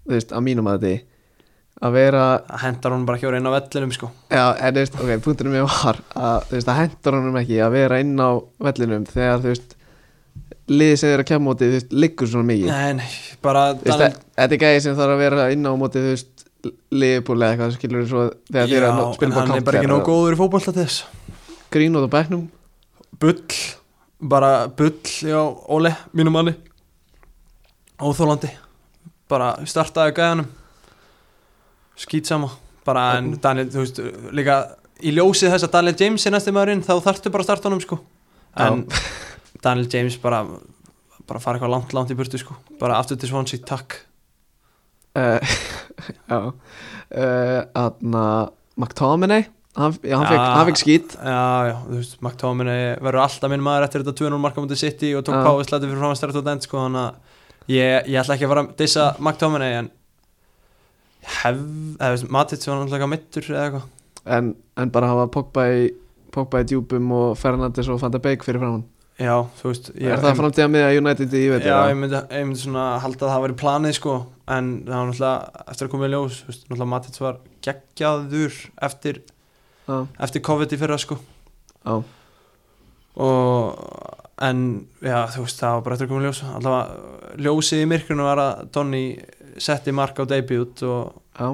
S1: Þú veist, að mínum að þetta Að vera
S2: Það hendar hún bara hjóra inn á vellinum, sko
S1: Já, en þú veist, ok, punkturinn mér var að, Þú veist, það hendar honum ekki að vera inn á vellinum Þegar, þú veist Liðið sem þeir að kemma móti, þú veist, liggur svona mikið
S2: Nei, nei, bara
S1: Þú veist,
S2: Daniel,
S1: það- Þetta er gæði sem þarf að vera inn á móti, þú veist Liðbúl eða eitthvað, skilur svo Þegar þeir eru að
S2: já,
S1: nó- spila
S2: en hann er
S1: kant
S2: bara ekki
S1: þeirra.
S2: nóg góður í fótbolta til þess
S1: Grín út hérna. á bekknum
S2: Bull, bara bull, já, Óli, mínum manni Óþólandi Bara startaði gæðanum Skýt sama Bara en Daniel, þú veist, líka Í ljósið þess að Daniel James er næsti maðurinn Þá þarftu bara að starta honum, sko En Daniel James bara Bara fara eitthvað langt, langt í burtu, sko Bara aftur til Swansea, takk
S1: Eh, Já Þannig að McTominay Hann, já, hann, fekk,
S2: Já.
S1: hann fekk skýt
S2: Já, já, þú veist, McTominay verður alltaf minn maður eftir þetta 2-0 marka mútið City og tók
S1: Já.
S2: páðislæti fyrir fram að starta og dent sko, þannig að ég, ég ætla ekki að fara að dissa McTominay en hef, eða veist, Matic var náttúrulega mittur eða eitthvað
S1: en, en bara hafa Pogba í Pogba í djúpum og Fernandes og Fanta Beik fyrir fram hann
S2: Já, þú veist ég,
S1: Er það framtíða með að United í veit
S2: Já, ég myndi, ég myndi svona halda að það væri planið sko en það var náttúrulega eftir að koma í ljós, þú veist, náttúrulega Matic var geggjaður eftir,
S1: Já.
S2: eftir COVID í fyrra sko
S1: Já.
S2: og en já þú veist það var bara eftir að koma í ljós allavega ljósið í myrkrinu var að Donny setti mark á debut og
S1: Já.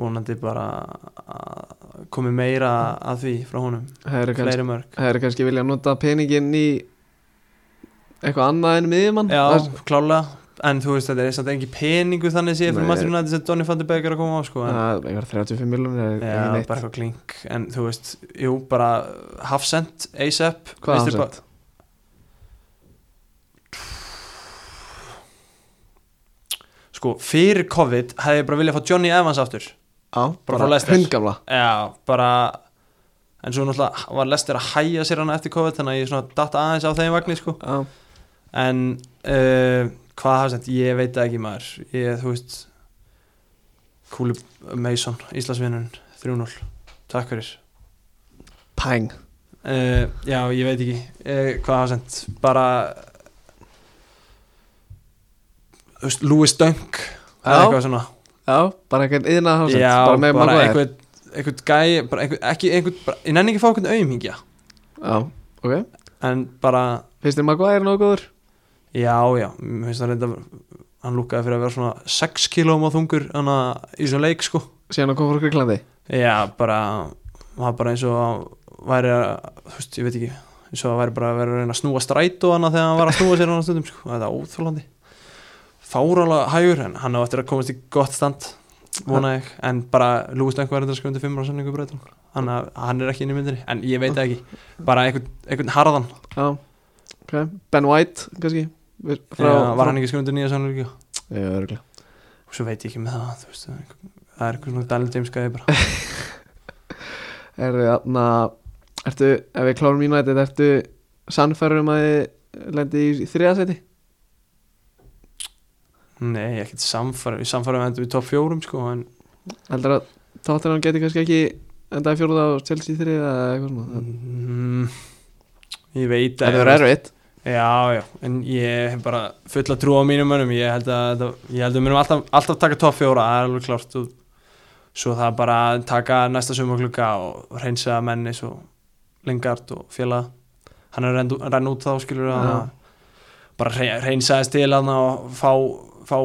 S2: vonandi bara að komi meira að því frá honum
S1: Það eru kannski,
S2: fleiri mörg
S1: það eru kannski vilja nota peningin í eitthvað annað en miðjumann
S2: já sko,
S1: Það-
S2: klálega en þú veist þetta er samt engi peningu þannig sé
S1: Nei.
S2: fyrir Master United sem Donny Fandi Becker er að koma á sko en,
S1: Það er eitthvað 35 miljonir
S2: já, bara eitthvað klink en þú veist jú bara hafsend ASAP
S1: Hvað
S2: vinstri
S1: hann
S2: bak-
S1: sett?
S2: sko fyrir COVID hefði ég bara viljað fá Johnny Evans aftur
S1: Já,
S2: Bara frá Leicester.
S1: hundgamla
S2: Já, bara en svo náttúrulega var lestir að hæja sér hana eftir COVID þannig að ég svona datta aðeins á þeim vagnir sko
S1: Já,
S2: en uh, hvað hafði sent, ég veit það ekki maður ég, þú veist Kúli Mason, Íslandsvinnun 3-0, takk fyrir
S1: Pæng
S2: uh, Já, ég veit ekki uh, hvað hafði sent, bara þú veist, Louis Dunk eða
S1: Já.
S2: eitthvað svona
S1: Já, bara eitthvað yðna hásett
S2: Já,
S1: Bara með
S2: bara
S1: Maguire.
S2: einhvern einhvern gæ, bara einhvern, ekki einhvern bara, ég nenni ekki að fá einhvern auðmingja
S1: Já, ok
S2: en bara,
S1: Finnst þér Maguire nógu góður?
S2: já, já mér finnst það reynda, hann lúkaði fyrir að vera svona 6 kílóum á þungur hann að í svona leik, sko
S1: Síðan að koma frá Gríklandi
S2: já, bara, það var bara eins og hann væri að, þú veist, ég veit ekki eins og það væri bara að vera að reyna að snúa strætó hana þegar hann var að snúa sér hann stundum, sko það er óþjólandi fáralega hægur, en hann á eftir að komast í gott stand vona ég, en bara Lúist Dönk var þetta skrifundi 5 ára samningu breytum sko. hann, hann er ekki inn í myndinni, en ég veit það ekki bara einhvern, einhvern harðan
S1: Já, ok Ben White, kannski Við- frá,
S2: já, var hann ekki skrifundi nýja samningu líka?
S1: Já, örgulega
S2: og svo veit ég ekki með það þú veist, það er einhver- það er eitthvað svona Daniel James gæði bara
S1: Er þarna Ertu, ef við klárum United, ertu Sannfærum að þið lendi í þriðasæti?
S2: nei, ég er ekkert samfara við samfara við endum í topp fjórum sko en
S1: Heldur að Tottenham geti kannski ekki Enda í fjóruða og Chelsea í þriða eða eitthvað svona
S2: mm, ég veit
S1: Það verður erfitt
S2: já, já, en ég hef bara fulla trú á mínum mönnum ég held að, þetta- ég held að við munum alltaf, alltaf taka topp fjóra það er alveg klárt og svo það bara að taka næsta sumaglugga og reynsa menni svo lengart og félaga hann er að renna út þá skilur
S1: Já.
S2: ja. bara rey- reynsaðist til hann og fá, fá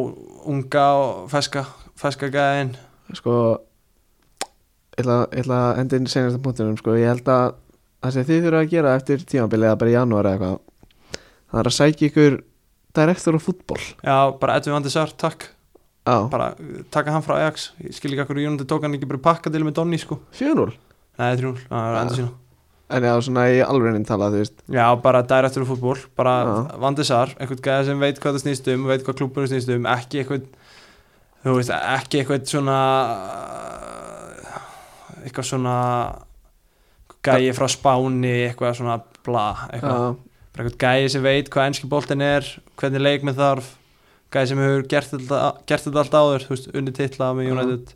S2: unga og feska, feska gæðin
S1: Sko Ég ætla, ég ætla að enda inn í senjasta punktinum sko. Ég held að það sem þið þurfa að gera eftir tímabilið eða bara í janúar eða eitthvað Það er að sækja ykkur Direktor á fútbol
S2: já, bara Edvin Vandi Sar, takk
S1: Já,
S2: bara uh, taka hann frá Ajax ég skil ekki akkur Jónandi tók hann ekki bara pakka til með Donny sko
S1: 4-0
S2: Nei, 3-0, það er
S1: Já.
S2: endur sína
S1: En já, svona í alvegnin tala, þú veist
S2: Já, bara dærættur úr fútból, bara
S1: Já.
S2: vandisar, einhvern gæða sem veit hvað það snýst um, veit hvað klúbunum snýst um, ekki einhvern, þú veist, ekki einhvern svona, uh, eitthvað svona gæði frá Spáni, eitthvað svona bla, eitthvað,
S1: Já,
S2: bara einhvern gæði sem veit hvað enski boltin er, hvernig leikmið þarf, gæði sem hefur gert þetta, gert þetta allt áður, þú veist, unni titla með
S1: Já.
S2: United,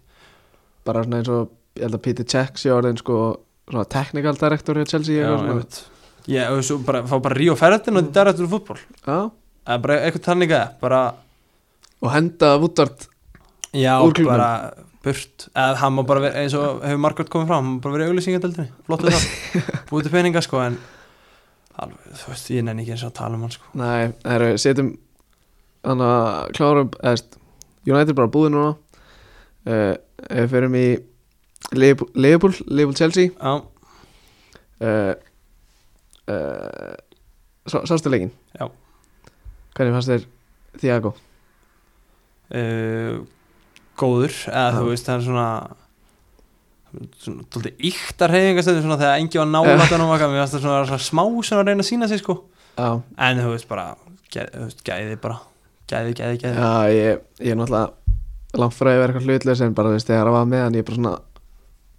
S1: bara svona eins og Ég held að Peter Cech sé orðin sko Svona technical director hjá Chelsea
S2: já,
S1: eitthvað svona.
S2: einmitt. Já, og svo bara, fá bara Ríó Ferretin og dærættur úr fútból,
S1: já
S2: eða bara einhvern tannig gæða, bara...
S1: Og henda Woodard
S2: Já,
S1: Úr klúbbnum.
S2: bara burt eða hann má bara vera, eins og hefur margótt komið fram hann má bara vera í auglýsingadeldinni, flott við það búið til peninga sko en alveg, þú veist, ég nenni ekki eins og að tala um hann sko
S1: Nei, það eru, setjum Þannig að klárum eðst, United bara búið núna uh, Við ferum í Liverpool, Liverpool, Liverpool Chelsea
S2: Já,
S1: uh, uh, sá- Sástu leikin?
S2: Já.
S1: Hvernig fannst þér Thiago?
S2: uh, góður eða
S1: Já.
S2: þú veist, það er svona svona, tóldi íktar reyðingastöndu svona þegar engi var nálægt að náma mér varst það svona, svona smá svona að reyna að sína sig sko
S1: Já,
S2: en þú veist bara, gæði, þú veist, gæði bara gæði, gæði, gæði
S1: Já, ég, ég er náttúrulega langt frá að vera eitthvað hlutlega en bara þú veist, þegar það var með hann ég bara svona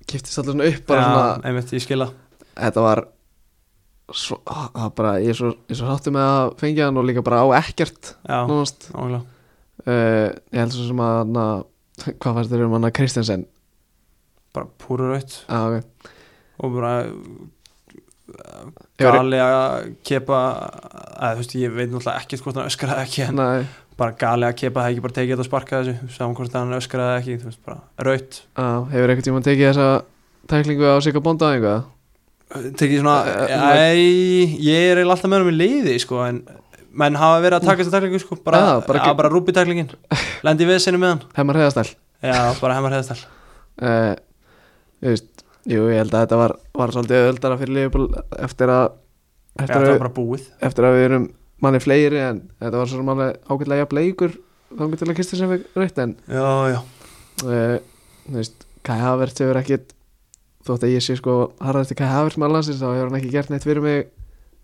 S1: kiftist alltaf svona upp bara svona,
S2: einmitt, ég skila
S1: þetta var svo, á, á, bara, ég er svo, ég er svo háttu með að fengja hann og líka bara á ekkert
S2: Já,
S1: nánast
S2: nákvæmlega
S1: uh, ég held svo sem að na, hvað fannst þér um hann að Kristensen
S2: bara púru raut
S1: ah, okay.
S2: og bara
S1: Hefur-
S2: gali að kepa að, þú veist, ég veit náttúrulega ekkert hvort hann öskraði ekki en
S1: Nei,
S2: bara gali að kepa það ekki bara tekið þetta og sparka þessu saman hvort hann öskraði ekki, þú veist, bara raut
S1: á, hefur eitthvað tíma tekið þessa tæklingu á Sigga Bonda eitthvað
S2: tekið svona,
S1: Eh,
S2: æ ég er eiginlega alltaf með hann í liði, sko en menn hafa verið að taka þessa taklingu, sko bara,
S1: Já, bara
S2: bara,
S1: ekki-
S2: bara rúpi taklingin lendi við sinni með hann,
S1: hemmar hreðastæl
S2: já, bara hemmar hefðastall
S1: uh, veist, Jú, ég held að þetta var, var svolítið öldara fyrir Liverpool eftir að
S2: já,
S1: eftir,
S2: það
S1: að,
S2: var bara búið,
S1: eftir að við erum manni fleiri en þetta var svo sem alveg ágætlega jafnleikur þannig til að Kristján sem við reytt en
S2: já, já
S1: uh, veist, Kai Havertz hefur ekkit þótt að ég sé sko harðasti Kai Havertz með landsins þá hefur hann ekki gert neitt fyrir mig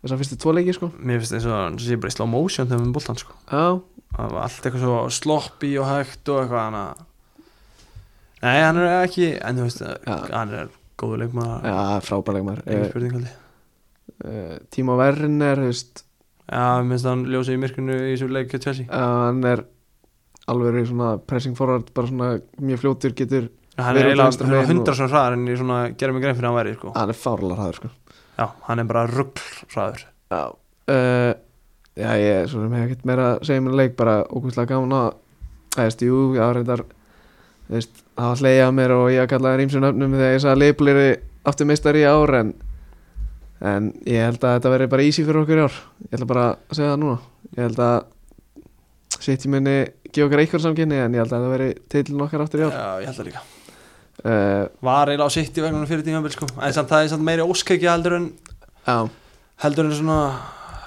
S1: þess að fyrstu tvo leiki sko
S2: mér finnst eins og hann sé bara í slow motion þegar við boltan, sko
S1: Já,
S2: það var allt eitthvað svo sloppy og hægt og eitthvað hana. nei, hann er ekki en þú veist, eh,
S1: Já.
S2: hann er góður leikmaður
S1: já frábæleg maður
S2: engin
S1: uh,
S2: spurning haldi
S1: uh, Tímo Werner, þú veist
S2: já, minnst hann ljósið í myrkunu í þessu leik hjá Chelsea,
S1: að hann er alveg svona pressing forward, bara svona mjög fljótur getur
S2: hann
S1: Verið
S2: er
S1: út vinstra
S2: eiginlega
S1: megin og- Ah.
S2: hann er hundra svona hraðar en ég svona gera mig grein fyrir að hann væri sko.
S1: hann er fárlega hraður sko
S2: já, hann er bara ruggl hraður
S1: Já uh, Já ég er svona með ekkert meira að segja mér leik bara ógustlega gaman að Það veist, jú, já reyndar Þú veist, það var hlegið að mér og ég að kalla það rýmsum nöfnum þegar ég sagði leifblir aftur meistari í ár en en ég held að þetta verði bara easy fyrir okkur í ár ég ætla bara að segja það núna ég held að City minni gefa okkur eitthvað samkynni en ég held að þetta verði titlun okkar aftur í
S2: já,
S1: ár
S2: ég held það líka
S1: uh,
S2: var eiginlega á sitt í vegnum fyrir tímabil sko. en samt það er samt meiri óskækja heldur en
S1: Já,
S2: heldur en svona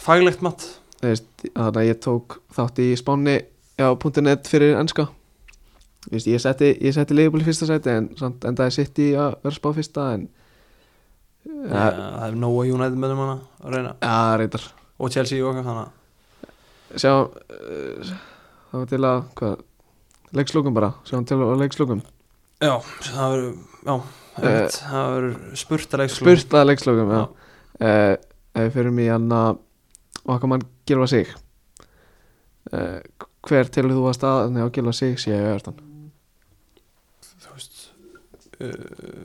S2: faglegt mat
S1: þú veist, þannig að ég tók þátt í spánni á .net fyrir ennska Þú veist, ég setti, ég setti leifból í fyrsta sæti en samt endaði sitt í að vera spá fyrsta en
S2: já,
S1: ja,
S2: það er nóa United með um hana að reyna
S1: ja, reyndar
S2: og Chelsea og eitthvað þannig
S1: sjá uh, þá var til að hvað, leikslokum bara, sjáum til að leikslokum
S2: Já, það verður, já, einmitt, það verður spurtaleg
S1: Eh, spurt að leikslokum, já uh, ef við fyrir mig hann að okkar mann gilfa sig uh, hver telur þú að staðan á gilfa sig sé ég öðvart hann
S2: Þú veist, uh,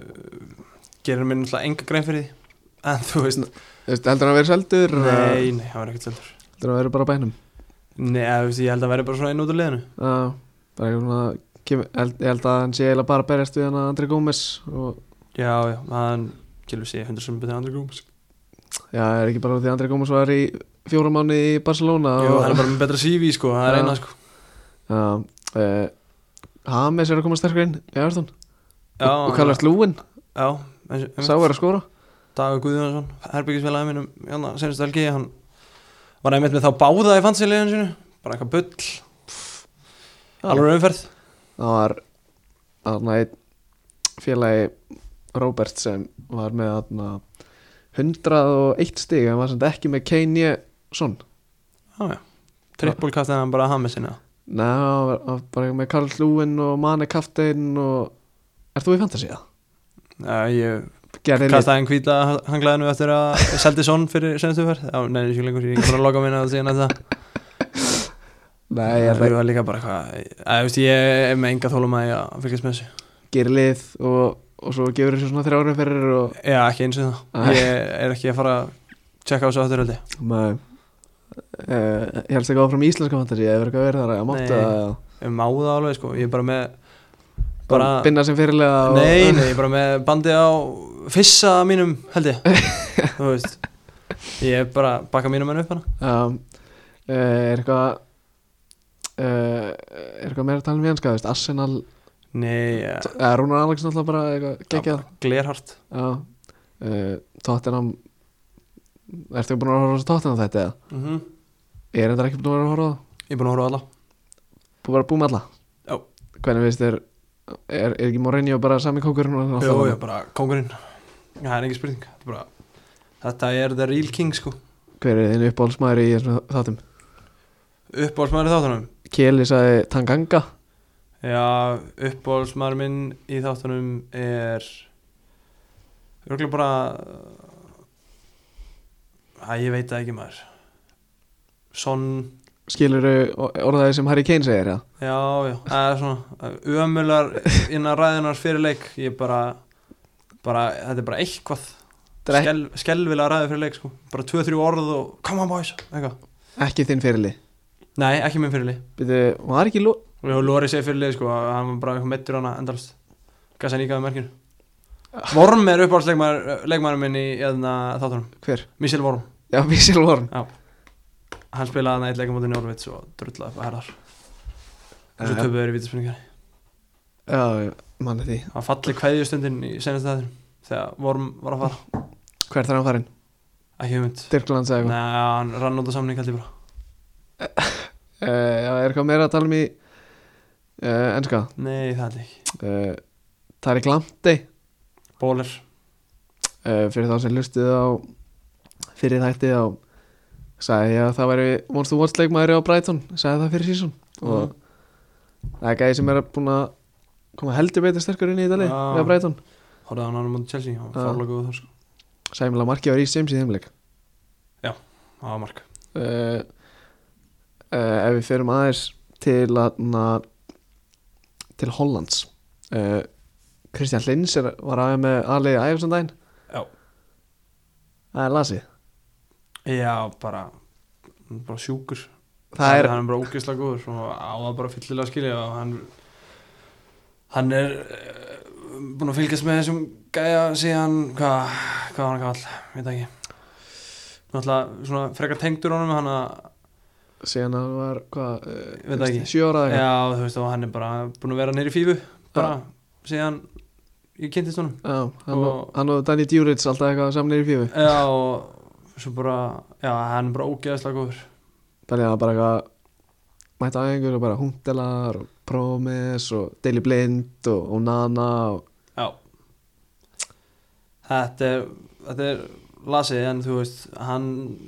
S2: gerir mér náttúrulega enga grein fyrir því, en þú veist,
S1: heldur hann að vera seldur
S2: nei, nei, það verður ekkert seldur.
S1: heldur hann að vera bara á bænum
S2: Nei, eða, þú veist, ég held að verður bara svona einn út úr liðinu.
S1: Já, bara eitthvað svona kem, held, Ég held að hann sé eiginlega bara að berjast við hann að Andri Gómez og
S2: Já, já, hann gilur sig 100 sem betið andri grúms.
S1: já, er ekki bara því að Andri Gómez var í fjóra mánu í Barcelona
S2: Jú,
S1: og,
S2: hann er bara með betra CV, sko, það er
S1: Já.
S2: eina, sko.
S1: Já, uh, Hames er að koma sterkur inn í Everton
S2: Já,
S1: og kallast Lúin,
S2: Já, eins og-
S1: sá er að skora
S2: Dagur Guðjónsson, herbyggisfélagið mínum hérna, senast helgi, hann var einmitt með þá báða í fansileginu sinu, bara eitthvað bull,
S1: Ah.
S2: alveg umferð.
S1: Það var þarna einn félagi Robert sem var með þarna 101 stig en var samt ekki með Kanye Son
S2: Já, já. Trippulkaftin hann bara að hafa með sinna
S1: Nei, hann var- hann var bara með Karl Lúin og Mane Kaftein og Ert þú í fantasy það?
S2: Já, ég
S1: Gerði lít
S2: kastaði hann hvita hanglaðinu eftir að seldi son fyrir senstu fyrr Já, nei, ég sé lengur, ég er ekki búin að loka minna að segja þetta
S1: Nei, ég
S2: Ég
S1: er það
S2: var líka bara hvað Æ, veist, ég er með enga þólum að ég að fylgjast með þessu
S1: Gerði lið og, og svo gefur þessu svona þrjárið fyrir og
S2: Já, ekki eins og
S1: Æ.
S2: það Ég er ekki að fara að tjekka á þessu aftur held ég
S1: Nei Uh, ég helst ekki áfram í íslenska fantasy eða verður eitthvað verið þar að
S2: Nei.
S1: máta að
S2: Ég má það alveg, sko, ég er bara með bara,
S1: binna sem fyrirlega og,
S2: Nei, nei, ég er bara með bandið á fissa mínum held ég Þú veist Ég er bara að bakka mínum enn upp hana
S1: um, uh, er eitthvað uh, er eitthvað meira að tala um jenska veist, Arsenal,
S2: Nei, ja,
S1: eða Rúnar Alex náttúrulega bara eitthvað geggjað
S2: glerhart
S1: já, uh, Tottenham ertu ekki búin að horfa á Tottenham þetta eða?
S2: mm
S1: ég er þetta ekki búin að horfa á það
S2: Ég er búin að horfa á alla
S1: búin að búið með alla
S2: Já.
S1: hvernig veist þér er, er ekki Mourinho bara sami kókur
S2: Jó, já, bara kongurinn Það er engin spurning Þetta er bara- Þetta er the real king, sko
S1: hver er þinn uppáhaldsmaður í þessum þáttum
S2: Uppbólsmaður í þáttunum
S1: Kjeli sagði Tanganga
S2: Já, uppbólsmaður minn í þáttunum er Örgulega bara Æ, ég veit það ekki maður Son
S1: skilur orðaði sem Harry Kane segir já.
S2: Já, já, það er svona Ömular innan ræðunar fyrir leik Ég bara, bara Þetta er bara eitthvað
S1: Þetta er
S2: Skel, Skelvilega ræðu fyrir leik, sko Bara 2-3 orð og Come on boys, eitthvað
S1: ekki þinn fyrirli
S2: Nei, ekki minn fyrirlið
S1: Byrju, var ekki lo
S2: Og ég Lóri segi fyrirlið sko að Hann var bara eitthvað meittur hana endalast Gassa nýkaði merkinu Vorm er uppáhaldsleikmæður minn í eðna, þáttunum
S1: hver?
S2: Mísil Vorm
S1: Já, Vísil Vorm
S2: Hann spilaði hann eitt leikamóti Njórvits og drullaði upp að herðar Og svo
S1: Já.
S2: töpuður í vítaspinningar
S1: Já, ég manna því
S2: Hann falli kveðjustundin í senast þættir Þegar Vorm var að fara
S1: Hvert er hann farin?
S2: Ekki hugmynd
S1: Tyrkland sagði
S2: Nei, hann rann út á samning held ég bara
S1: eitthvað uh, Já, er eitthvað meira að tala um í uh, Ennska
S2: Nei, það held ég ekki
S1: uh, Tarik Lamti
S2: Bóler
S1: uh, Fyrir þá sem lustuð á Fyrir þætti á Sagði ég að það væri Vonst þú Watch leikmaður á Brighton Sagði það fyrir sísón
S2: Mhm.
S1: Og það er gæði sem er búin að Koma heldur betur sterkur inn í Ídali
S2: Já.
S1: Við að Brighton
S2: Hóraði hann hann á móti Chelsea Hann
S1: Já.
S2: var fárlega góð þar sko
S1: Sæmilega markið var í Sims í þeimleik
S2: Það var mark
S1: uh, uh, ef við ferum aðeins til na, til Hollands uh, Kristján Lins er, var aðeins með aðlega ægjumsandaginn
S2: Já.
S1: það er lasið
S2: Já, bara Bara sjúkur
S1: það er,
S2: hann er bara ógeðslega góður og á það bara fyllilega skilja og hann hann er uh, búin að fylgjast með þessum gæja síðan hvað hva var hann kall, veit það ekki náttúrulega svona frekar tengdur honum hann að,
S1: síðan að var hvað, uh,
S2: Veit það ekki.
S1: sjö ára eða
S2: já þú veist og hann er bara búin að vera neyri fífu bara síðan ég kynntist honum
S1: eitthvað. já, hann, og,
S2: Og-
S1: hann og Danny Djuric alltaf eitthvað samnir í fífu
S2: já og svo bara já hann er bara ógeðslega góður
S1: þannig að það bara eitthvað mæta aðeins og bara Hundelar og Promes og Daily Blind og, og Nana og,
S2: Já Þetta er, þetta er lasið en þú veist hann,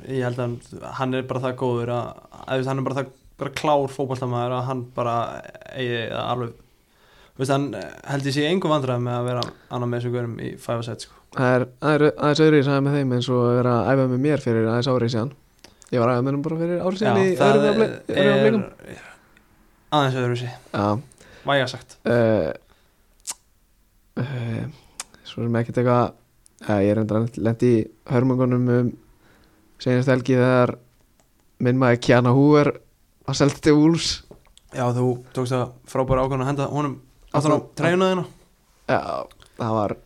S2: ég held að hann- hann er bara það góður að, að þú veist, hann er bara það bara klár fótballtamaður að hann bara eigi það alveg þú veist, hann held ég sé engum vandræðum með að vera annar með þessu görum í 5 set sko.
S1: Það er það er- aðeins öðru í sæði með þeim eins og að vera að æfa með mér fyrir aðeins árið síðan Ég var að æfa með þeim bara fyrir árið síðan í
S2: það
S1: öðrum
S2: er,
S1: afleik- öðrum afleikum
S2: aðeins öðru sér,
S1: Já
S2: væga sagt
S1: uh, uh, Svo sem ekkert eitthvað uh, Ég er enda lendi í hörmungunum um senast helgi þegar minn maður Kjana Húver var seldi til Úls
S2: Já, þú tókst það frábæra ákvæðan að henda honum aftur á
S1: Aftan á-
S2: treyjuna þína
S1: Já, það var,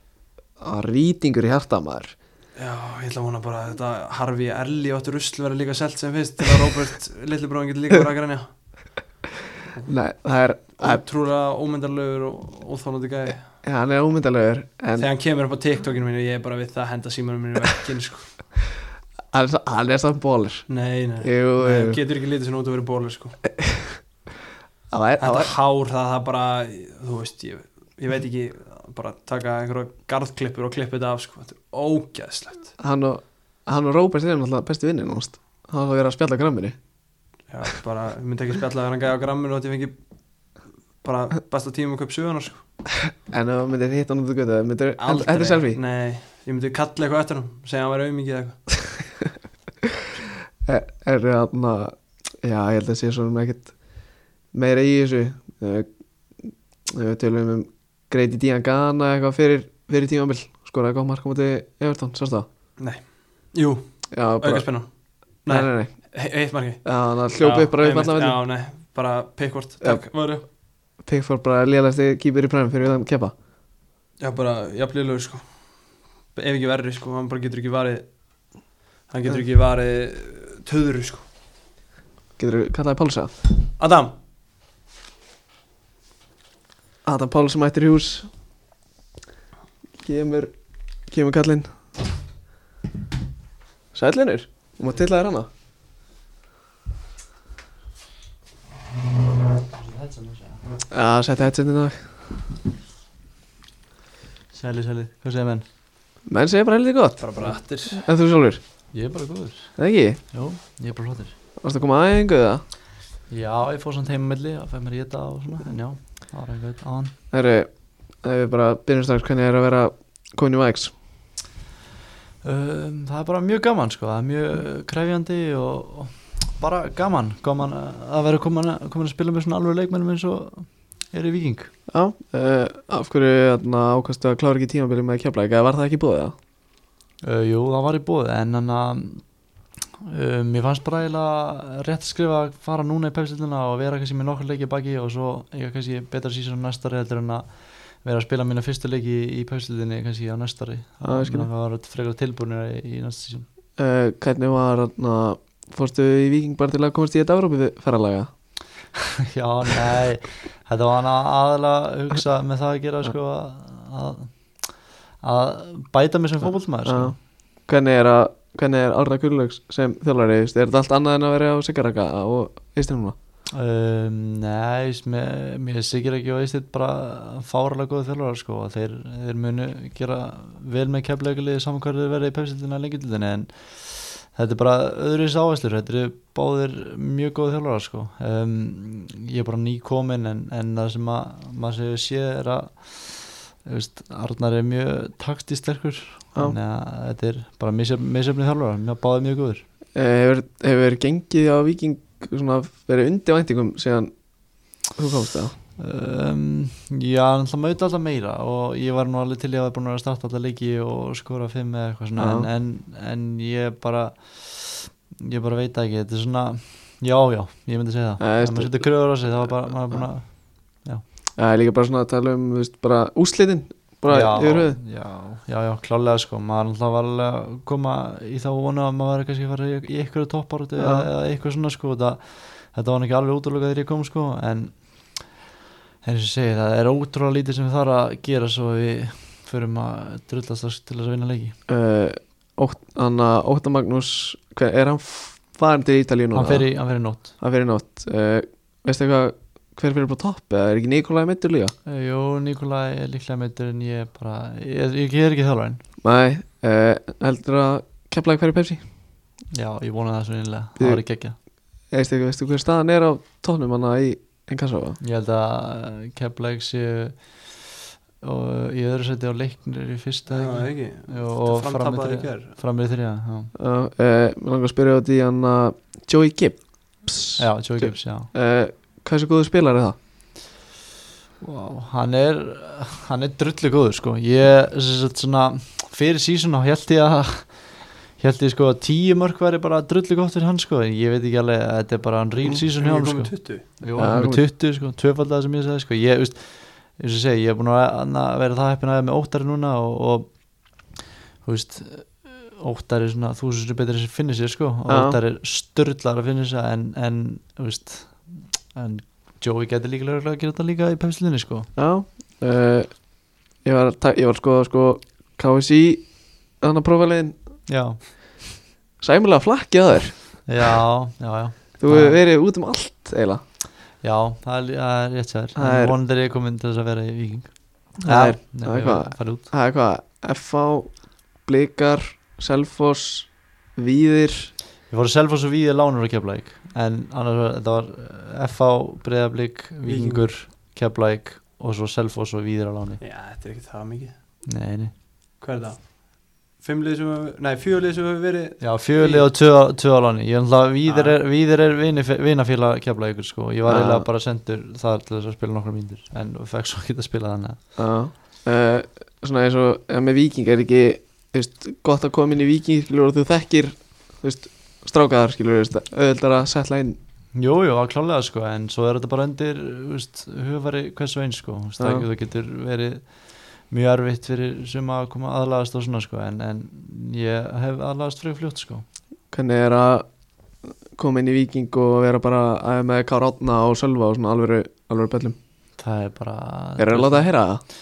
S1: það var rýtingur í hjarta maður
S2: Já, ég ætla að vona bara að þetta Harfi Erli og þetta rusl verða líka selt sem fyrst til að Robert Lillibróðin getur líka verið að grænja
S1: Nei, það er, það er
S2: Ótrúlega ómyndarlegur og óþálandi gæði
S1: hann er ómyndalegur en
S2: Þegar hann kemur upp á TikTokinu mínu ég er bara við það að henda símanum mínu vekkinn sko.
S1: hann er sa- hann er samt bólir
S2: Nei, nei,
S1: Jú,
S2: nei
S1: jú.
S2: getur ekki litið svona út að vera bólir sko.
S1: Það var, það
S2: Þetta
S1: var,
S2: hár það, það bara, þú veist ég, ég veit ekki bara taka einhverja garðklippur og klippa þetta af sko, þetta er ógeðslegt
S1: hann og, hann og Róbert er náttúrulega besti vinnir náttúrulega hann var að vera að spjalla græmminni
S2: Já, bara, ég myndi ekki spjalla þegar hann gæði á gramminu og þetta fengi bara besta tíma að köp sögunar sko.
S1: en ef hann myndir hitta hann út á götu myndir,
S2: Aldrei.
S1: þetta er selfie
S2: Nei, ég myndi kalla eitthvað eftir hann segja hann væri auðmikið eitthvað
S1: er, er hann að já, ég held að sé svona ekkert meira í þessu Eh, við tölum um Grady Dían Gana eitthvað fyrir, fyrir tímabil skoraði góð mark á móti Evertón, sást það?
S2: Jú,
S1: Já, bara,
S2: auka spennan
S1: nei,
S2: Nei,
S1: nei, nei,
S2: eitt marki
S1: Já, hann hljópa upp bara upp allaveg
S2: Já, nei, bara pikkvort
S1: Já.
S2: Takk, varu
S1: Pickford bara lélæsti kýpur í præm fyrir utan kepa
S2: Já, bara jafnlegur sko Ef ekki verri sko, hann bara getur ekki varið Hann getur ekki varið Töðru sko
S1: getur þú kallaði Pálsa
S2: Adam,
S1: Adam Páls mættir í hús kemur kemur kallinn Sællinur og maður tillaði hana Já, setja headsetin í dag
S3: Sæli, sæli, hvað segir menn?
S1: menn segja bara heldur gott
S2: bara bara aftur
S1: en þú sjálfur,
S3: Ég er bara góður
S1: eða ekki?
S3: Jó, ég er bara flottur
S1: Varst að koma aðeingu eða?
S3: Já, ég fór samt heim á milli að fæði mér í þetta og svona En já, það var eitthvað aðan
S1: Herru, ef við bara byrjum strax hvernig er að vera komin í Vax
S3: um, Það er bara mjög gaman sko, það er mjög uh, krefjandi og, og bara gaman Gaman að að vera komin að, komin að spila með svona alveg leikmennum eins og er í viking
S1: Já, uh, af hverju þarna, ákastu að klára ekki tímabilið með keflæk eða var það ekki búið það?
S3: Uh, jú, það var í bóð en hann að um, ég fannst bara eiginlega rétt skrifa að fara núna í pepsildina og vera kannski með nokkur leiki í baki og svo eiga kannski betra síðan næstari heldur en að vera að spila mína fyrstu leiki í pepsildinni kannski á næstari
S1: Já, ég skil.
S3: að vera frekar tilbúinir í, í næsta síðan
S1: uh, hvernig var þarna fórstu í Víking bara til að komast í þetta Európi ferðalaga
S3: Já, nei, þetta var hann aðalega að hugsa með það að gera sko að, að bæta mig sem fótbollmaður sko.
S1: uh, hvernig er að hvernig er Árna Kullöks sem þjólari er þetta allt annað en að vera á Sigaraka og Íslanduna
S3: Um, nei, veist, mér, mér er sikir ekki og eistið bara fárlega góðu þjálfarar sko og þeir, þeir munu gera vel með keflegulegið saman hvað þeir verða í pepsildina lengildina en þetta er bara öðruins áherslur, þetta eru báðir mjög góðu þjálfarar sko um, ég er bara nýkomin en, en það sem að, maður séu sé er að þú veist, Arnar er mjög taktist sterkur þannig að þetta er bara misjöfni þjálfarar, mjög báðir mjög góður
S1: uh, hefur, hefur gengið á Víking svona verið undir væntingum síðan þú komst það
S3: Um, já, hann ætla að mauta alltaf meira og ég var nú alveg til ég að vera búin að vera að starta alltaf leiki og skora fimm eða eitthvað svona
S1: Já.
S3: en, en, en ég bara ég bara veit það ekki, þetta er svona já, já, ég myndi segja
S1: Nei,
S3: það ef
S1: veistu-
S3: maður setur kröður á sig, það var bara maður er búin að
S1: uh, líka bara svona að tala um þú veist, bara úslitin bara
S3: já,
S1: yfir höfuð
S3: já, já, já, klálega sko maður alltaf var alveg að koma í þá vona að maður var kannski að fara í, í eitthvað topparóti
S1: Já.
S3: eða eða eitthvað svona sko það, þetta var nú ekki alveg útrúlega þegar ég kom sko en eins og ég segi það er ótrúlega lítið sem við þarf að gera svo við förum að drullast þess til þess að vinna leiki
S1: uh, Ótt, hann að Óttar Magnús hver, er hann f- farin til Ítalíu núna?
S3: hann fer, í, hann fer í nótt
S1: hann fyrir nótt uh, veistu eitthvað hver fyrir bara topp eða er ekki Nikolai meittur líka
S3: Eh, Jú, Nikolai er líklega meitur en ég er bara ég, ég, ég er ekki þjálfarinn
S1: nei, uh, heldur að kepla hverju Pepsi
S3: já, ég vona það svo einlega
S1: Þið-
S3: það var ekki ekki
S1: Eh, veistu, eitthvað, veistu hver staðan er á toppnum hana í Engasafa
S3: Ég held að Keflæk séu og í öðru seti á leiknir í fyrsta
S2: Já,
S3: ekki?
S2: ekki
S3: Jú, og
S2: Og
S3: fram í
S2: framtapaði
S3: þriðja-
S2: hér
S3: fram í þrjá já.
S1: uh, uh, mér langar að spyrja út í hann að Joey Gibbs
S3: já, Joe
S1: Joe-
S3: Gibbs, já
S1: uh, hversu góðu spilar er það?
S3: wow, hann er hann er drullu góður sko ég, sem sagt, svona, fyrir sísun á held ég að held ég sko að tíu mörg væri bara drullu gótt fyrir hann sko en ég veit ekki alveg að þetta er bara hann
S2: Mm,
S3: real season hjá hann sko
S2: 20
S3: Jú,
S1: Já,
S3: hann er
S1: komið.
S3: 20 sko, tvöfaldað sem ég segi sko ég, veist, eins og ég segi, ég er búin að annað vera það heppin að ég með óttari núna og, og þú veist óttari er svona þúsundur betur sem finnir sér sko, og
S1: Já.
S3: óttari er störðlar að finnir sér en, en, þú veist en Joey getur líka lögulega að gera þetta líka í pepsilinni sko
S1: já uh, ég var, að ta- ég var sko, sko KSI hann að prófa leiðin
S3: já,
S1: sæmulega flakki að þér
S3: já, já, já
S1: þú
S3: Já.
S1: hefur verið út um allt eiginlega
S3: já, það er, það er rétt sér
S1: Það er-
S3: en vonandi er ég komin til þess að vera í viking
S1: Það er-
S3: nei,
S1: það er
S3: ég
S1: hvað?
S3: var- farið út.
S1: það er hvað, FH Blikar, Selfoss Víðir
S3: Ég fór að selfa svo víði lánur á Keflæk en annars var, eh, þetta var FH, Breiðablík, Víkingur, Keflæk og svo selfa svo víðir á láni
S2: Já, þetta er ekki það mikið
S3: Nei, nei
S2: Hvað er það? Fimm lið sem hefur, nei, fjör lið sem hefur verið
S3: Já, fjölið og tvö á- tvö á láni Ég ætla að víðir er, víðir er vini, vinafélag Keflækur sko Ég var
S1: Ah.
S3: eiginlega bara sendur þar til þess að spila nokkra mínútur en fekk svo ekki að spila þannig að-
S1: uh, svona eins og eh, með Víking er ekki þú veist, gott að koma inn í Víking skilur og þú þekkir þú veist, strákaðar skilur þú veist, auðvitað að setla inn
S3: Jú, jú, að klálega sko en svo er þetta bara undir þú veist, hugfari hversu eins sko þú veist,
S1: Já.
S3: það það getur verið mjög erfitt fyrir suma að koma aðlagast og svona sko en, en ég hef aðlagast frekar fljótt sko
S1: hvernig er að koma inn í Víking og vera bara að með Kár Átna og Sölva og svona alvöru, alvöru bellum
S3: Það er bara
S1: er það að láta að heyra það?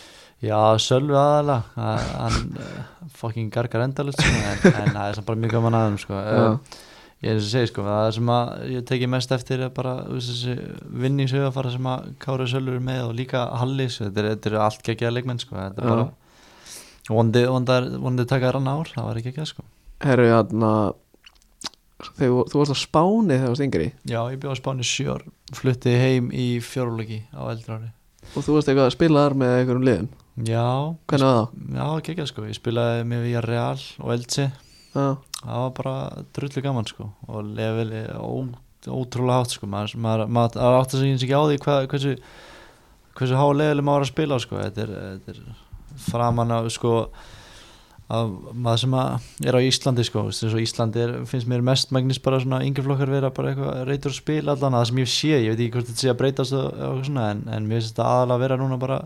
S3: Já, Sölvi aðalega að- Hann eh, fucking gargar endalist sko, en, en það er samt bara mjög gaman aðeim sko.
S1: Já.
S3: Eh, Ég er þess að segja sko það er sem að ég teki mest eftir er bara þú veist, þessi vinningshugafara sem að Kári Sölvi er með og líka Hallis þetta er, þetta er allt geggjaða leikmenn sko þetta er
S1: Já.
S3: bara vondi, vondi, vondi taka rann ár, það var ekki geggjað sko
S1: herru, hérna þegar þú varst á Spáni þegar þú varst yngri
S3: Já, ég bjóð á Spáni sjör flutti heim í fjórulegi á eldra ári
S1: og þú varst eitthvað að spila þar með einhverjum liðum
S3: Já,
S1: hvernig var það?
S3: já geggjað sko ég spilaði með Vía Real og Eldsi
S1: Já,
S3: það var bara drullu gaman sko og leveli ó, ótrúlega hátt sko maður, maður, maður, maður átti sig eins ekki á því hvað, hversu hversu há leveli maður er að spila á, sko þetta er, þetta er framan af sko af maður sem að er á Íslandi sko þú veist, eins og Íslandi er, finnst mér mest magnist bara svona yngri flokkar vera bara eitthvað reytur að spila allan að það sem ég sé, ég veit ekki hvort þetta sé að breytast og, og eitthvað svona, en, en mér finnst þetta aðalega að vera núna bara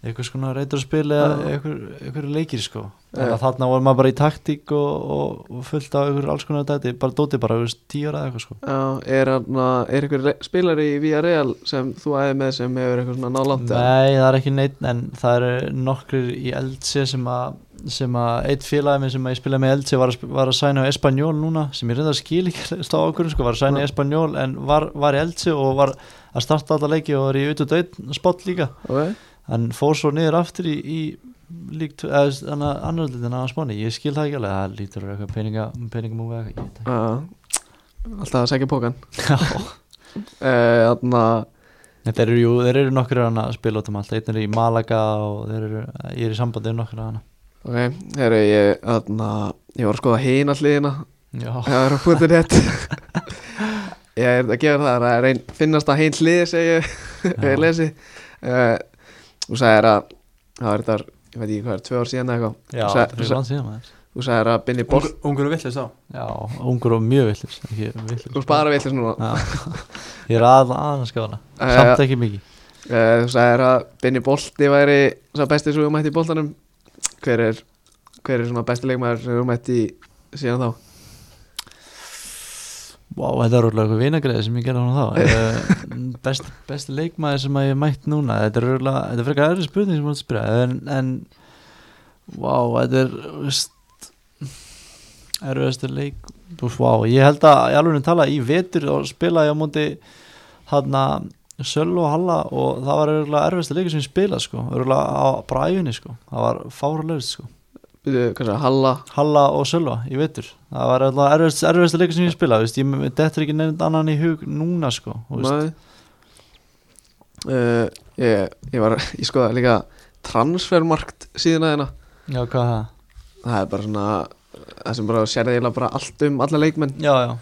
S3: eitthvað svona reytur að spila eða
S1: Já.
S3: eitthvað, eitthvað leikir sko
S1: Já.
S3: Þannig að þarna voru maður bara í taktík og, og, og fullt á ykkur alls konar dæti bara dóti bara, þú veist, tíu ára eða eitthvað sko
S1: já er, hérna, er einhver re- spilari í Villarreal sem þú æði með sem hefur eitthvað svona nálátt
S3: Nei, það er ekki neitt en það eru nokkrir í Eltsi sem að sem að eitt félagi minn sem að ég spilaði með í Eltsi var að, sp- var að sæna á Espanjól núna sem ég reynda að skil ekki stá okkur sko, var að sæna í Espanjól en var, var í Eltsi og var að starta alla leiki og var í auðvitað einn spott líka
S1: okay.
S3: hann fór svo niður aftur í, í líkt, eða þannig að annarlitin að spáni, ég skil það ekki alveg það lítur að vera eitthvað peninga, peningamúfi eða eitthvað, ég veit ekki.
S1: já, alltaf að Eh, segja pókan
S3: Já.
S1: þannig að
S3: Nei, Þeir eru, jú, þeir eru nokkur hana að spila út um allt, einn er í Malaga og þeir eru, ég er í sambandi um nokkur hana
S1: ok, herru, ég, þarna, ég var að skoða hina hliðina
S3: Já,
S1: Það er að búið rétt Ég er að gera það Það er einn finnast að heim hlið segi ég
S3: Já.
S1: ég lesi uh, Þú sagðir að það er þetta, ég veit ekki hvað er, tvö ár síðan eða
S3: já
S1: eitthvað
S3: það
S1: Þú
S3: er
S1: sa-
S3: langt síðan maður
S1: sa- Þú sagðir að binni bort
S2: Ungur og villist þá
S3: Já, ungur og mjög villir, ekki villir
S1: Þú spara við þess núna
S3: Já, ég er aðan aðan að skála,
S1: Eh,
S3: samt ekki mikið
S1: Eh, Þú sagðir að binni bolti væri svo besti svo mætti í boltanum Hver er, hver er svona besti leikmaður sem þú mætti síðan þá?
S3: Vá, þetta er rúglega eitthvað vinagreði sem ég gerði hún þá Eh, best, Besti leikmaður sem að ég hef mætt núna Þetta er rúglega, þetta er frekar aðri spurning sem ég mátt spyrja En, en Vá, þetta er þú veist, Erfiðasti leik þú veist, Vá, ég held að Ég alveg tala í vetur og spila ég á móti Hanna Söll og Halla og það var rúglega erfiðasti leikur sem ég spila sko Rúglega á bræjunni sko Það var fárulegust sko
S1: Byrju, hvað sagði, Halla
S3: Halla og Sölva, ég veitur það var alltaf erfist, erfist leikur sem ég spila veist. ég mér dettur ekki nefnd annan í hug núna sko, þú veist.
S1: Nei uh, ég, ég var Ég skoða líka transfermarkt síðuna þeirna
S3: já hvað er það
S1: Það er bara svona Það sem bara sérði eiginlega bara allt um alla leikmenn
S3: já, já.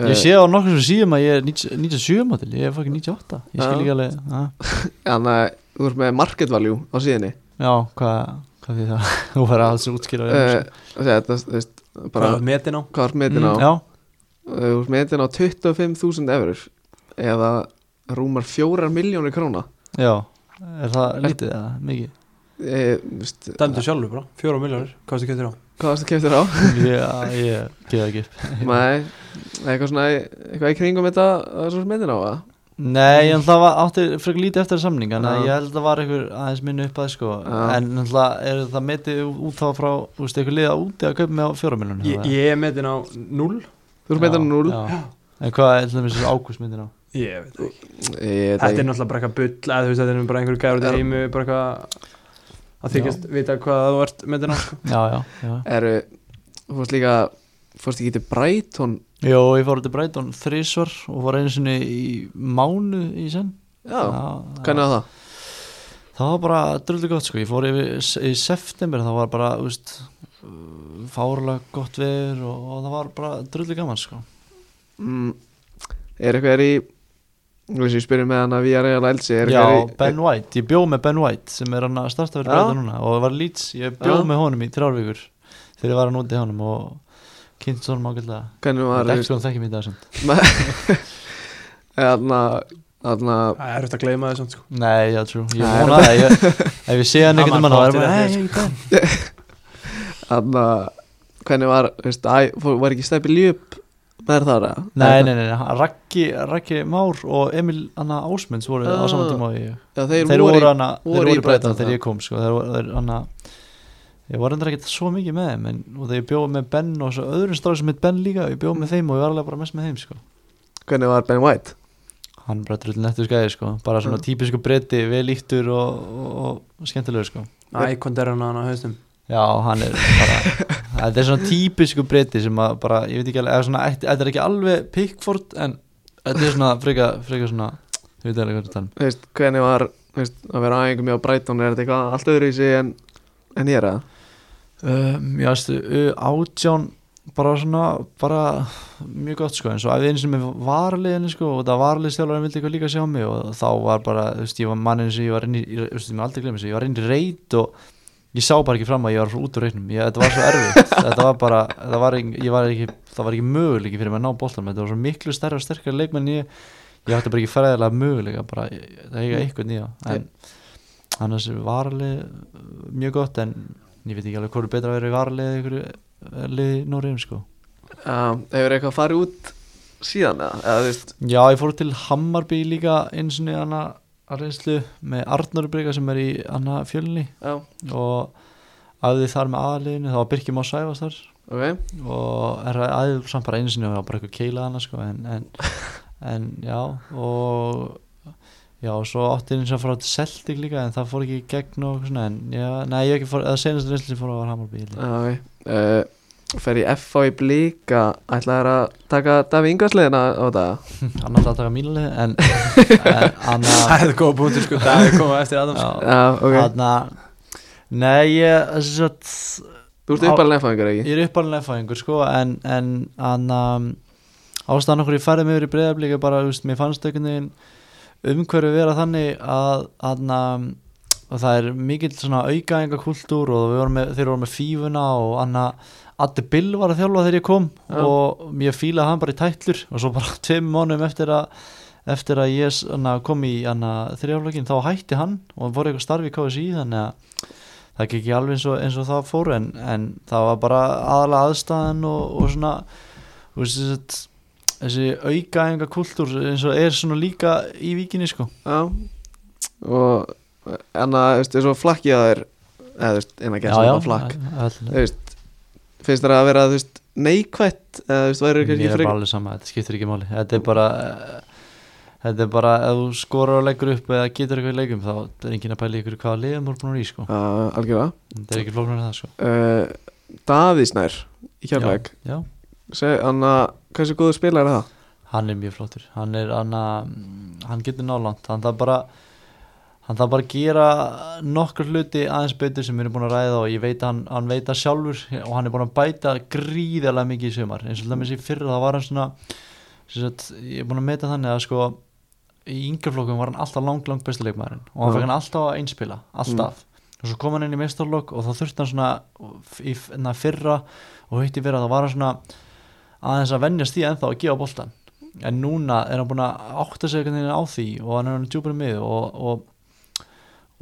S1: Eh,
S3: ég sé á nokkur sem síðum að ég er 90 97 mótil, ég er fucking 98
S1: Já.
S3: ég skil ekki alveg að,
S1: Þannig að þú ert með market value á síðunni
S3: já, hvað hvað því það, þú verður að alls útskýra
S1: uh, Þetta, þú veist
S2: Hvað
S1: bara,
S2: er metin á?
S1: Hvað er metin á?
S3: Mm. já,
S1: Eh, Þú ert metin á 25.000 eurur Eða rúmar fjórar miljónir króna
S3: já, er það lítið eða mikið,
S1: Eh, þú veist,
S2: Dæmdu sjálfur bara, fjóra miljónir, hvað er það kættir á?
S1: Hvað varst það keftir á?
S3: ég, ég geða ekki upp
S1: Nei, eitthvað svona í- Eitthvað í kringum þetta Það er svo metin á það
S3: Nei, en það var átti frekar lítið eftir samning en
S1: Já.
S3: ég held að það var einhver aðeins minni upp að sko
S1: Já.
S3: en náttúrulega er það metið út þá frá, þú veist, einhver liða úti að kaupa mig á fjóra miljonum
S2: Ég, ég er metin á 0
S1: Þú ert metin á 0
S3: En hvað er til dæmis ágústmyndin á?
S2: ég veit ekki
S1: Eh, Ég,
S2: þetta er
S1: þetta,
S2: náttúrulega bara eitthvað bull að þú veist þetta er bara einhverju gæður út í
S1: Er-
S2: heimu bara eitthvað að þykjast vita hvað þú ert með þetta sko.
S3: já, já, já.
S1: er, þú fórst líka fórst ekki til Brighton
S3: Jó, ég fór til Brighton þrísvar og var einu sinni í mánu í senn
S1: já,
S3: Já,
S1: hvernig var það?
S3: Það var bara dröldu gott sko, ég fór yfir, í september, það var bara, þú veist, fárlega gott veður og, og það var bara dröldu gaman sko.
S1: Mm, er eitthvað í þú veist ég spyrir með hann að við erum að elsi er
S3: Já,
S1: eitthvað í
S3: Ben White, ég bjóð með Ben White sem er hann að starta fyrir
S1: Já.
S3: breyta núna og var Leeds, ég bjóð
S1: Já.
S3: með honum í þrjárvíkur þegar ég var að núti honum og kynnt svona mákvæðlega.
S1: hvernig var
S3: Dekk sko hann þekki mér í dag samt.
S1: þarna þarna
S2: það er eftir að gleyma þessu sko.
S3: Nei, já, true, ég
S1: Nei,
S3: vona það, ég- ef ég sé hann
S2: Hann
S3: ekkert um
S2: var
S3: hann, þá er
S2: þáttur eftir,
S3: bara, hei, ég Ben.
S1: þarna hvernig var þú veist æ, fór- var ekki stefið ljúp með þar að
S3: Nei, nei, nei, nei, hann- Raggi, Raggi Már og Emil Anna Ásmunds voru á saman tíma og ég
S1: já, Ah. þeir,
S3: þeir voru, hana,
S1: voru
S3: þeir
S1: í
S3: voru í Breiton
S1: Breiðdal,
S3: þegar
S1: já.
S3: ég kom sko. þeir, voru- þeir, hana, ég var endur ekkert svo mikið með þeim en, og þegar ég bjóð með Ben og svo öðrum stráð sem heit Ben líka, ég bjóð með þeim og ég var alveg bara mest með þeim sko.
S1: hvernig var Ben White
S3: hann bara drullin eftir skæði sko. bara svona
S1: Mm.
S3: típisku bretti, vel íktur og, og, og skemmtilegur sko.
S2: ækond er hann að hann á haustum
S3: já, hann er bara þetta er svona típisku bretti sem að bara, ég veit ekki alveg, eða svona, ætti- þetta er ekki alveg Pickford en þetta er svona freka, freka svona, ég veit alveg hvað þetta er að tala um.
S1: Þú veist, hvernig var þú veist, að vera aðeingum hjá Brighton er þetta eitthvað allt öðru í sig en, en ég er að
S3: Um, já, veistu, átján bara svona, bara mjög gott sko, eins og að einu sem er varliðinu sko, og það varliðstjálfarinn vildi eitthvað líka sjá mig og þá var bara, þú veist, ég var mannin sem ég var inn í, ég- þú veist, ég mér aldrei glemur þessu, ég var inn í reyt og ég sá bara ekki fram að ég var svo út úr reitnum, ég, þetta var svo erfitt þetta var bara, það var, ekki, ég var ekki það var ekki möguleiki fyrir mig að ná boltanum þetta var svo miklu stærra og sterkari leikmenn en ég ég átti bara ekki fæðilega möguleika bara, ég- ég- það eiga eitthvað nýja en annars var alveg uh, mjög gott en ég veit ekki alveg hvort er betra að vera í varlið ykkur liði í Norriðum sko
S1: um, hefur eitthvað farið út síðan eða, eða þú veist
S3: já ég fór til Hammarby líka eins og niður hana að reynslu með Arnur Brygga sem er í hana fjölni
S1: já,
S3: og æfði þar með aðliðinu þá var Birkjum á Sæfas þar
S1: ok,
S3: og er að æðið samt bara einu sinni og það var bara eitthvað keila hana sko en, en, en já og já og svo átti einu sinni að fara til Celtic líka en það fór ekki í gegn og eitthvað svona en já, nei ég ekki fór, eða senast reynslu sem fór á var Hammarby ég held ég.
S1: já, ok uh, fer ég FH í blíka ætlaður að taka Davi Ingarsliðina á það
S3: hann átti að taka mínuleg en, en annað
S2: það er góð punktur sko, það er komað eftir Adams
S3: já,
S1: já, ok,
S3: annað nei ég, þess að
S1: þú ert
S3: á-
S1: uppalinn FH-ingar ekki
S3: Ég er uppalinlega fæðingur sko en, en anna, ástæðan okkur ég færði mig yfir í breyðablík er bara, þú veist, mér fannst einhvern veginn umhverfi vera þannig að, um, anna, að það er mikill svona aukaðinga kultúr og við vorum með, þeir voru með fífuna og anna, Addi Bill var að þjálfa þegar ég kom
S1: Já.
S3: og ég fílaði hann bara í tætlur og svo bara tveim mánum eftir að eftir að ég anna, kom í þrjáflökin þá hætti hann og hann fór eitthvað starfi í KSI þannig að það gekk ekki alveg eins og, eins og það fór en, en það var bara aðalega aðstæðan og, og svona þú veist, þessi, þessi aukaðinga kultúr eins og er svona líka í vikinni sko
S1: já, og en að, þú veist, eins og flakkið að þér eða, þú veist, en að gera svona flakk
S3: all,
S1: þú veist, finnst þér að vera, þú veist, neikvætt eða, þú veist, væri
S3: mér
S1: kannski
S3: er
S1: frek
S3: bara alveg sama, þetta skiptir ekki máli þetta er bara eh, þetta er bara ef þú skorar og leggur upp eða getur eitthvað í leikum þá er enginn að pæla ykkur hvaða liðum þú er búin að í sko
S1: Já, algjörlega
S3: þetta er ekki flóknar en það sko
S1: uh, Davísnær í kjærleik
S3: já, já.
S1: hann að hversu góður spilar er það
S3: hann er mjög flottur hann er hann að hann getur nálant hann þarf bara hann þarf bara að gera nokkur hluti aðeins betur sem við erum búin að ræða og ég veit að hann, hann veit það sjálfur og hann er búin að bæta gríðarlega mikið í sumar eins og það með sér fyrra það var hann svona sem sagt, ég er búin að meta þannig að sko í yngjaflokkum var hann alltaf langt langt besti leikmaðurinn og hann
S1: Já.
S3: fekk hann alltaf að einspila alltaf og svo kom hann inn í meistarlokk og þá þurfti hann svona í na, fyrra og hitti fyrra þá var hann svona aðeins að venjast því ennþá að gefa boltan en núna er hann búin að átta sig einhvern veginn á því og hann er hann djúpar mið og, og,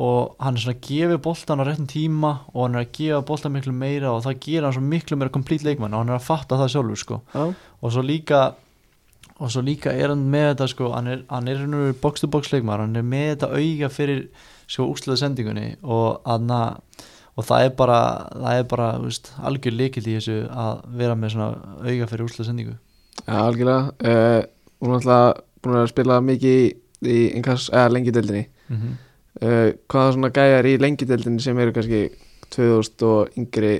S3: og hann er svona að gefa boltan á réttin tíma og hann er að gefa boltan miklu meira og það gera hann svo miklu meira komplít leikmann og hann er að fatta það sjálfur sko
S1: já,
S3: og svo líka og svo líka er hann með þetta sko, hann er, hann er hennu box to box leikmar, hann er með þetta auga fyrir sko úrslöðu sendingunni og anna, og það er bara það er bara, þú veist, algjör líkil í þessu að vera með svona auga fyrir úrslöðu sendingu
S1: Eh, já algjörlega uh, og náttúrulega búin að spila mikið í, í einhvers, eða lengjadeildinni uh, hvaða svona gæjar í lengjadeildinni sem eru kannski 2000 og yngri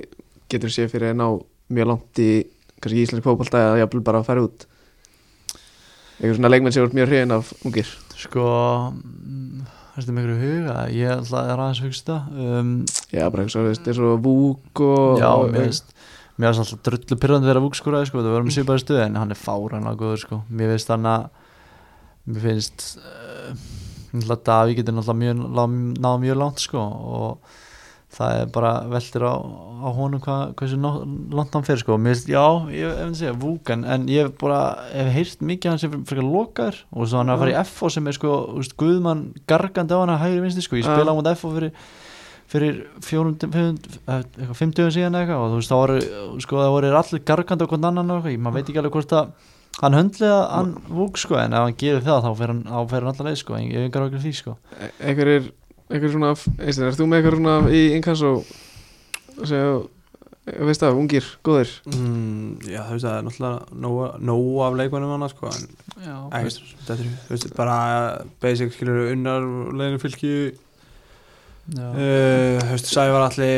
S1: getur séð fyrir að ná mjög langt í kannski íslensk fótbolta eða jafnvel bara að fara út einhver svona leikmenn sem er mjög hrifin af ungir
S3: Sko mm, Þetta er miklu huga Ég ætla að er aðeins hugsta um,
S1: já, bara eins og þú veist, eins og Vúk og
S3: Já,
S1: og,
S3: mér veist Mér finnst alltaf drullu pyrrandi vera vúkskúraði sko, það verðum
S1: Mm.
S3: svipaði stuð en hann er fáranlega góður sko. Mér finnst hann að mér finnst uh, náttúrulega Daví getur náttúrulega mjög, lá- náð mjög langt sko og það er bara veltir á, á honum hva, hversu nó, langt hann fyrir sko. Mér finnst, já, ég ef ég segja vúk en, en ég hef bara, hef heyrt mikið að hann sem frekar lokar og svo hann er að fara í FO sem er sko, þú veist, guðmann gargandi á hann að hægri vinstri sko, ég
S1: Já.
S3: spila á mútið FO fyrir fyrir fjórum, fjórum eh, eitthvað, fimmtugum síðan eða eitthvað og þú veist, það voru, sko, það voru allir gargandi okkur annan og eitthvað, ég- maður veit ekki alveg hvort að hann höndliða, hann vúk, sko en ef hann gerir það, þá fer hann, þá fer hann allar leið, sko ég hef engar okkur því, sko
S1: einhverjir einhverjir svona, einstæðan, er þú með einhverjir svona í inkasso sem, þú veist það, ungir, góðir
S2: mm, Já, þú veist það er náttúrulega nóg, nóg af leikmannum hana sko, en
S3: Já,
S2: Æ, þetta er, þú veist, bara basic skilur unnar leginu fylki
S3: já,
S1: Eh.
S2: uh, þú veist, Sævar Alli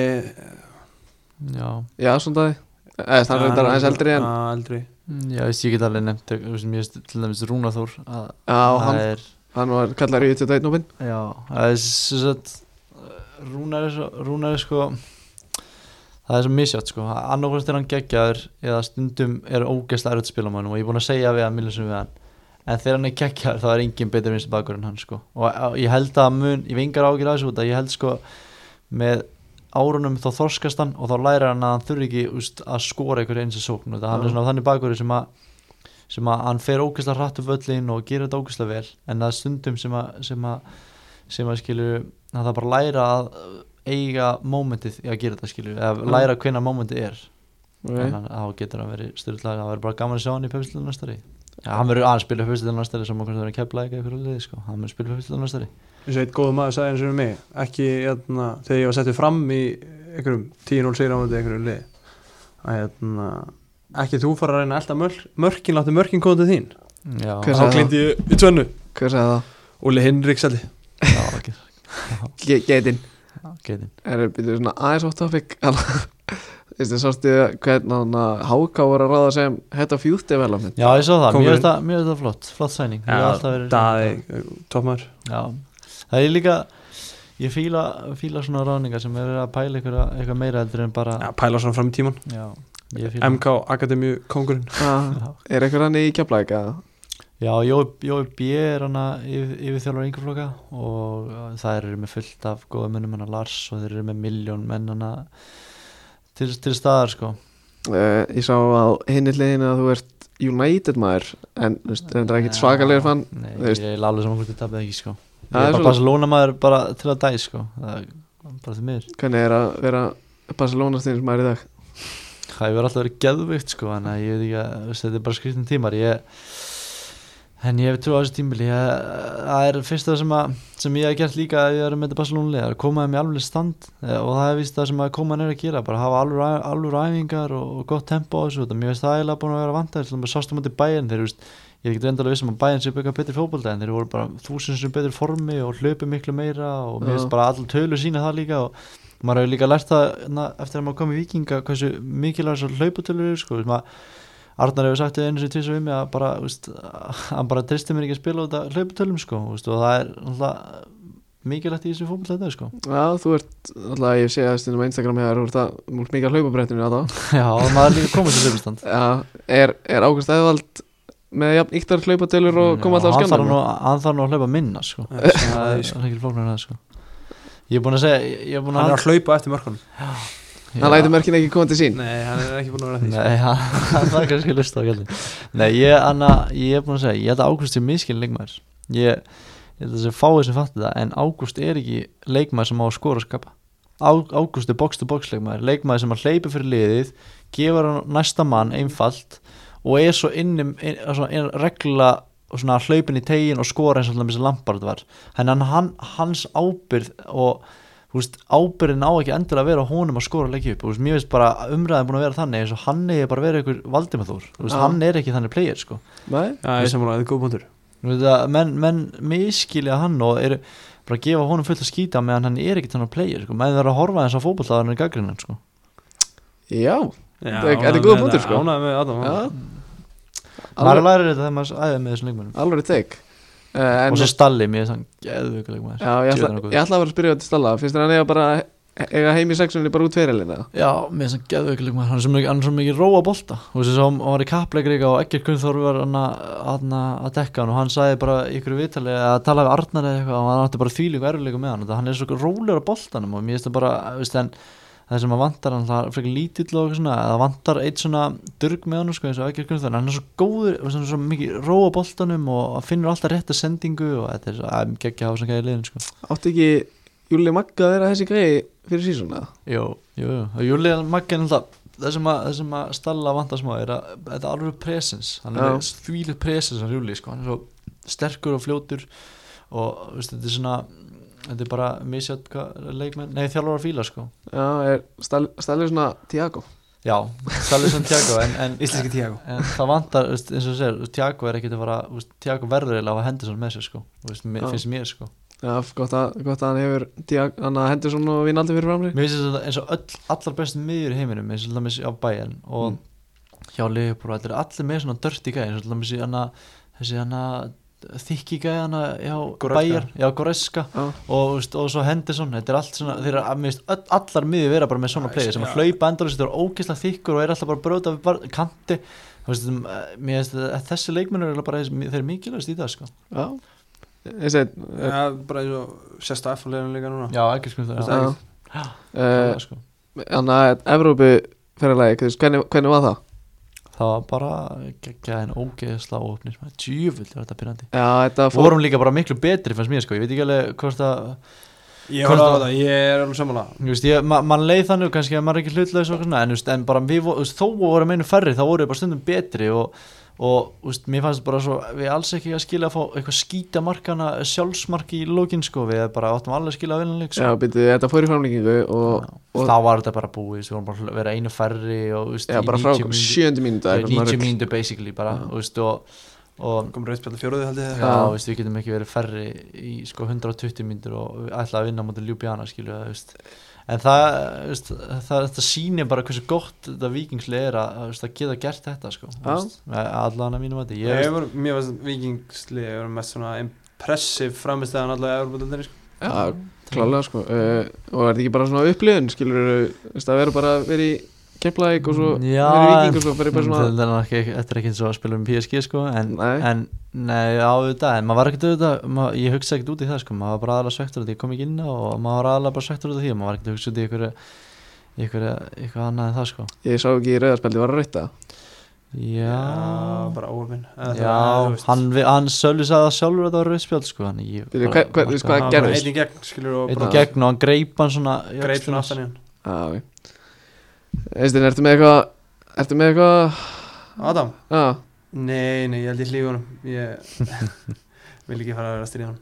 S3: já,
S1: já, svona dagi, eða það er reyndar aðeins eldri en,
S2: Já, eldri
S3: já, veist, ég get alveg nefnt þú veist, mér finnst til dæmis Rúnar Þór að
S1: já, hann,
S3: það er,
S1: hann var kallar í 21 núpin
S3: já, það er svo sett Rúnar er, svo, Rúnar er sko það er svo misjátt sko annarkvæmst er hann geggjaður eða stundum er ógeðslega erut spilamannum og ég er búin að segja við hann millisum við hann en þegar hann er geggjaður þá er enginn betur minnst bakur en hann sko og og ég held að mun, ég vingar ágjur að þessu út að ég held sko með árunum þá þorskast hann og þá læra hann að hann þurfi ekki úst, að skora einhverja eins og sókn það
S1: Já.
S3: hann er svona þannig bakur sem að sem að hann fer ógeðslega hratt upp öllin og gerir þetta ógeðslega vel en það er stundum sem að sem að, sem að skilur hann það bara læra að eiga mómentið í að gera þetta skilju eða læra hvenna mómentið er
S1: okay.
S3: þannig að þá getur hann verið styrlaði það verður bara gaman að sjá hann í pöfstilinu næstari ja, hann verður að spila pöfstilinu næstari sem okkur það verður að kepla eitthvað ykkur liði sko hann verður spila pöfstilinu næstari
S2: eins og eitt góð maður sagði eins og mig ekki jæna, þegar ég var settur fram í einhverjum 10-0 sigur á móti einhverjum lið að jæna, ekki þú fara að reyna alltaf mörk, mörkin láttu mörkin koma til þín
S3: já,
S1: Hver
S2: þá
S1: sagði
S2: glindi ég í tvennu
S1: hver sagði það?
S2: Óli Hinriks allir
S3: já, ekki,
S1: Ge getinn
S3: getin
S1: er byrjuð svona aðeins off topic alveg. Þú veist, það sástu hvernig hann að HK voru að ráða sem head of youth development
S3: já, ég svo það, mér
S2: Kóngurinn.
S3: finnst það- mér finnst það flott flott sæning Ég hef alltaf verið-
S2: daði eh, toppmar
S3: Já, það er líka ég fíla, fíla svona ráningar sem er að pæla ykkur eitthvað meira heldur en bara
S2: ja, pæla svona fram í tíman
S3: já, ég fíla
S2: MK Akademíu kongurinn
S1: Ah, er einhver hann í kjaflæk að
S3: Já, Jói Jói B er hann yfir, yfir þjálfur yngjafloka og uh, það eru með fullt af góða mönnum hann Lars og þeir eru með miljón menn hann til, til staðar sko
S1: Uh, ég sá á hinni hliðinu að þú ert United maður en þú veist, það er ekkert svakalegur fann
S3: Nei,
S1: þú
S3: ég
S1: veist.
S3: er alveg saman hvort ég tapið ekki sko Ég
S1: Það er
S3: er bara
S1: svolítið.
S3: Barcelona maður bara til að dæ sko það er bara því miður
S1: hvernig er að vera Barcelona stundins maður í dag
S3: Það hefur alltaf verið geðveikt sko Þannig að ég veit ekki að þú veist, þetta er bara skriftin tímar ég, En ég hef trú á þessu tímili ég, eh, Það er fyrst það sem, að, sem ég hef gert líka ef Ég er með þetta Barcelona að koma þeim í alveg stand eh, Og það er vist það sem að koma hann er að gera Bara hafa alveg, alveg æfingar og, og gott tempo á þessu þetta. Mér veist það eiginlega búin að vera vant Þannig að sástu mútið bæinn þeir veist, Ég er ekki reyndalega vissum um að bæinn sé byggja betri fótbolta En þeir voru bara þúsund sem betri formi Og hlöpu miklu meira Og mér
S1: Já.
S3: veist bara allir tölu sína það líka og, maður hefur líka lært það na, eftir að maður kom í vikinga hversu mikilvæg svo hlauputölur eru, sko, þú veist, maður Arnar hefur sagt þau einu sem tvis og um mig að bara, þú veist, hann bara tristi mér ekki að spila út af hlauputölum sko, þú veist, og það er alltaf mikilvægt í þessu fótbolta sko.
S1: já, þú ert, alltaf ég sé að stundum á Instagram hefur þú ert að, múl mikið að hlaupabrettinu að þá
S3: Já, og maður er líka komið til hlaupustand
S1: já, er, er Ágúst Eðvald með jafn yktar hlaupadeilur og koma alltaf á
S3: hann þarf
S1: skjöndan
S3: nú, hann þarf nú að hlaupa minna sko. það er
S2: hann
S3: það er ekki flóknar en það sko. ég er búin að segja ég er búin
S2: er
S3: að
S2: að hlaupa eftir mörkunum
S1: hann lætur mörkin ekki koma til sín
S2: nei, hann er ekki búin að vera að því sko.
S3: Nei, hann- það er kannski lust á gældi Nei, ég, anna, ég er búin að segja Ég held að Ágúst er miskinn leikmaður Ég, ég held að þessi fáið sem fatti það En Ágúst er ekki leikmaður sem á að skora og skapa Á- Ágúst er box to box leikmaður Leikmaður sem að hleypa fyrir liðið Gefur hann næsta mann einfalt Og er svo innum inn, svona, inn, Regla og svona hlaupin í tegin Og skora eins og alltaf þessi Lampard var En hann, hann, hans ábyrð og þú veist, ábyrðin á ekki endilega að vera á honum að skora og leggja upp, þú veist, mér veist bara umræðin búin að vera þannig eins og hann er bara verið einhver valdið með þú veist,
S1: Já.
S3: hann er ekki þannig player, sko
S1: nei,
S2: já, ég er sammála, þetta er góð punktur
S3: Nú veit það, menn, menn miskilja hann og eru bara að gefa honum fullt að skýta meðan hann er ekkert hann að playa sko. menn verður að horfa eins á fótbolltaðurinn í gaggrinnan sko.
S1: Já,
S2: Já,
S1: Þetta er- þetta er
S2: ánægður
S1: góður
S2: með
S1: punktur,
S2: þetta,
S1: sko.
S2: ánægður með Adam
S1: já
S3: maður
S1: Alveg-
S3: lærir þetta þegar maður æðið með þessum leikmennum
S1: Alveg teik uh,
S3: og svo Stalli, mér er þann geðvöku leikmenn
S1: Já, ég ætla,
S3: Djöfull er hann góður.
S1: ég ætla að vera að spyrja þetta stalla Finnst þér hann eiga bara eiga heim í sexunni bara út fyrirlinna
S3: Já, mér finnst hann geðveikur leikmaður, hann er svo mikið, hann er svo mikið róa bolta Þú veist þess að hann hann var í kappleikri líka og ekkert kunnþór var hann að, hann að dekka hann og hann sagði bara í ykkur vitali að tala við Arnar eða eitthvað og hann átti bara þvílíku erfileiku með hann Þetta- hann er svo rólegur á boltanum og mér finnst það bara, þú veist, en það sem að vantar hann það er frekar lítill og eitthvað svona eða vantar eitt svona durg með hann sko, eins og ekkert kunnþór hann er svo góður, þú veist, hann er svo mikið róa á boltanum og finnur alltaf rétta sendingu og þetta er svo, að, geggja hafa svona gæði liðin sko.
S1: Átti ekki Júli Magga að vera þessi greiði fyrir sísona
S3: Jú, jú, jú. og Júlíu Maggi er náttúrulega það sem að, það sem að Stalla vantar smá er að þetta er alveg presens hann
S1: Já.
S3: er þvílið presens á Júlíu sko. hann er svo sterkur og fljótur og veist, þetta er svona þetta er bara misjátt hvað leikmenn nei þjálfur að fíla sko
S1: Já, er stallið svona Tiago
S3: já, Stalla sem Tiago en, en,
S2: Íslenski Tiago
S3: en það vantar veist, eins og þú segir, Tiago er ekkit að fara veist, Tiago verður eiginlega að hafa hendur með sér sko veist, mér,
S1: Já.
S3: finnst mér sko
S1: Já, gott að, gott að hann hefur Tiago, hann að hendur svona og vinaldi fyrir framri
S3: Mér finnst þetta eins og öll, allar bestu miður í heiminum eins og dæmis á bæjan og
S1: Mm.
S3: hjá Leopold, þetta er allir með svona dörti gæði eins og dæmis í hana þessi hana þykki gæði hana hjá
S2: Goretzka.
S3: bæjar, já Goreska
S1: Já,
S3: og, veist, og svo Henderson, þetta er allt svona þeir eru, mér finnst öll, allar miður vera bara með svona
S2: Já,
S3: playa sem
S2: já.
S3: að hlaupa endur þetta er ógeðslega þykkur og er alltaf bara að brjóta við var- kanti Þú veist, um, eh, mér finnst þetta- þessi leikmennur eru bara, þeir eru mikilvægast í það sko
S1: já Þessi, uh,
S2: Já, bara eins og sérst að F-leginu líka núna
S3: já, ekki sko það
S1: já
S3: já,
S1: Eh,
S3: já, sko.
S1: Þannig að Evrópu fyrirlegi, hvernig, hvernig var það?
S3: það var bara geggjæðin ógeðsla og opnir djúvill er þetta pyrrandi
S1: Já, þetta
S3: Við vorum líka bara miklu betri fannst mér sko, ég veit ekki alveg hvort að
S2: Ég
S3: Hvort
S2: horfði á
S3: að-
S2: þetta, ég er alveg sammála
S3: þú veist, ég, ma mann leið þannig kannski að maður er ekki hlutlega svo svona, en, þú veist, en bara við, vo- þú veist, þó að vorum einu færri þá vorum við bara stundum betri og, og þú veist, mér fannst bara svo, við alls ekki að skila að fá eitthvað skýta markana sjálfsmark í lókin sko, við bara áttum alveg að skila að vinna leik
S1: Já,
S3: sko.
S1: byrju, þetta fór í framlengingu og
S3: og þá var þetta bara búið, við vorum bara að vera einu færri og þú veist,
S1: já,
S3: í
S1: bara frá
S3: 90 mínútur-
S1: sjöndu mínútu
S3: já,
S1: eitthvað svona
S3: 90
S1: rugl.
S3: mínútur basically bara, þú veist, og, og
S2: Kom rauðspjall fjóruði held ég
S3: Já, veist, við getum ekki verið færri í sko 120 myndur og við ætla að vinna mútið Ljúbjana, skilju það, veist En það, veist, það, þetta sýnir bara hversu gott þetta vikingsli er að, að, veist, að geta gert þetta, sko þú
S1: Já.
S3: veist, með Allan að mínum að
S2: Ég
S3: þetta
S2: var, mér varst vikingsli, ég var mest svona impressive framistæðan allavega í Európa-dildinni sko.
S1: Já, klálega sko uh, og er þetta ekki bara svona upplifun skilur það verður bara að vera í kemplaðik og svo
S3: Já,
S1: vera í viking og svo verður bara svona
S3: mm, Þetta er ekki, þetta er ekki eins og að spila um PSG sko en,
S1: Nei.
S3: en nei, á þetta en maður var ekkert auðvitað, maður, ég hugsa ekkert út í það sko maður var bara aðalega svektur út í, ég kom ekki inn á og maður var aðalega bara svektur út í því maður var ekkert að hugsa út í ykkur ykkur, ykkur annað en það sko
S1: ég sá ekki í rauðarspjaldi var að rauta
S3: Já,
S2: bara óöfinn
S3: Já, hann, vi- hann Sölvi sagði það sjálfur að það var rauðspjald sko hann ég
S1: Bíddu, hva- hva- þú veist hvað
S2: hann
S1: gerðist?
S2: var einn í gegn, skilur, og
S3: Einn í
S2: bara
S3: gegn og hann greip hann svona í
S2: greip svona
S3: öxlina.
S2: aftan í hann
S1: já, ok Eistin, ertu með eitthvað ertu með eitthvað
S2: Adam?
S1: já,
S2: Nei, nei, ég held ég hlífi honum Ég vil ekki fara að vera að stríða hann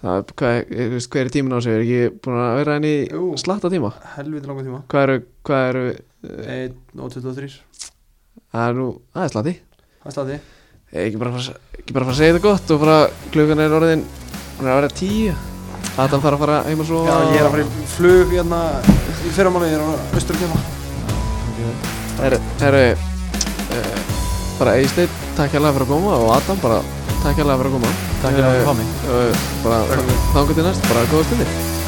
S1: það er- hvað er- þú veist, hver er tímin á sig er ekki búin að vera henni í
S2: Jú.
S1: slatta tíma
S2: Helviti langa tíma
S1: hvað eru, hvað eru
S2: 1 og 23
S1: það er nú, það er slatti
S2: Það er slati
S1: Ég ekki bara, að fara- ekki bara að fara að segja þetta gott og bara klukkan er orðin, hún er að vera tíu Adam þarf að fara heim að svo
S2: Já, ég er að fara í flug hérna í fyrramáli Ég er að austur að kemma
S1: Herru, herru uh, bara Eysteinn, takk hérlega fyrir að koma og Adam bara takk hérlega fyrir að koma
S3: Takk fyrir að
S1: Eh,
S3: koma
S1: eh, Bara þangað til næst, bara góða stundir
S2: Takk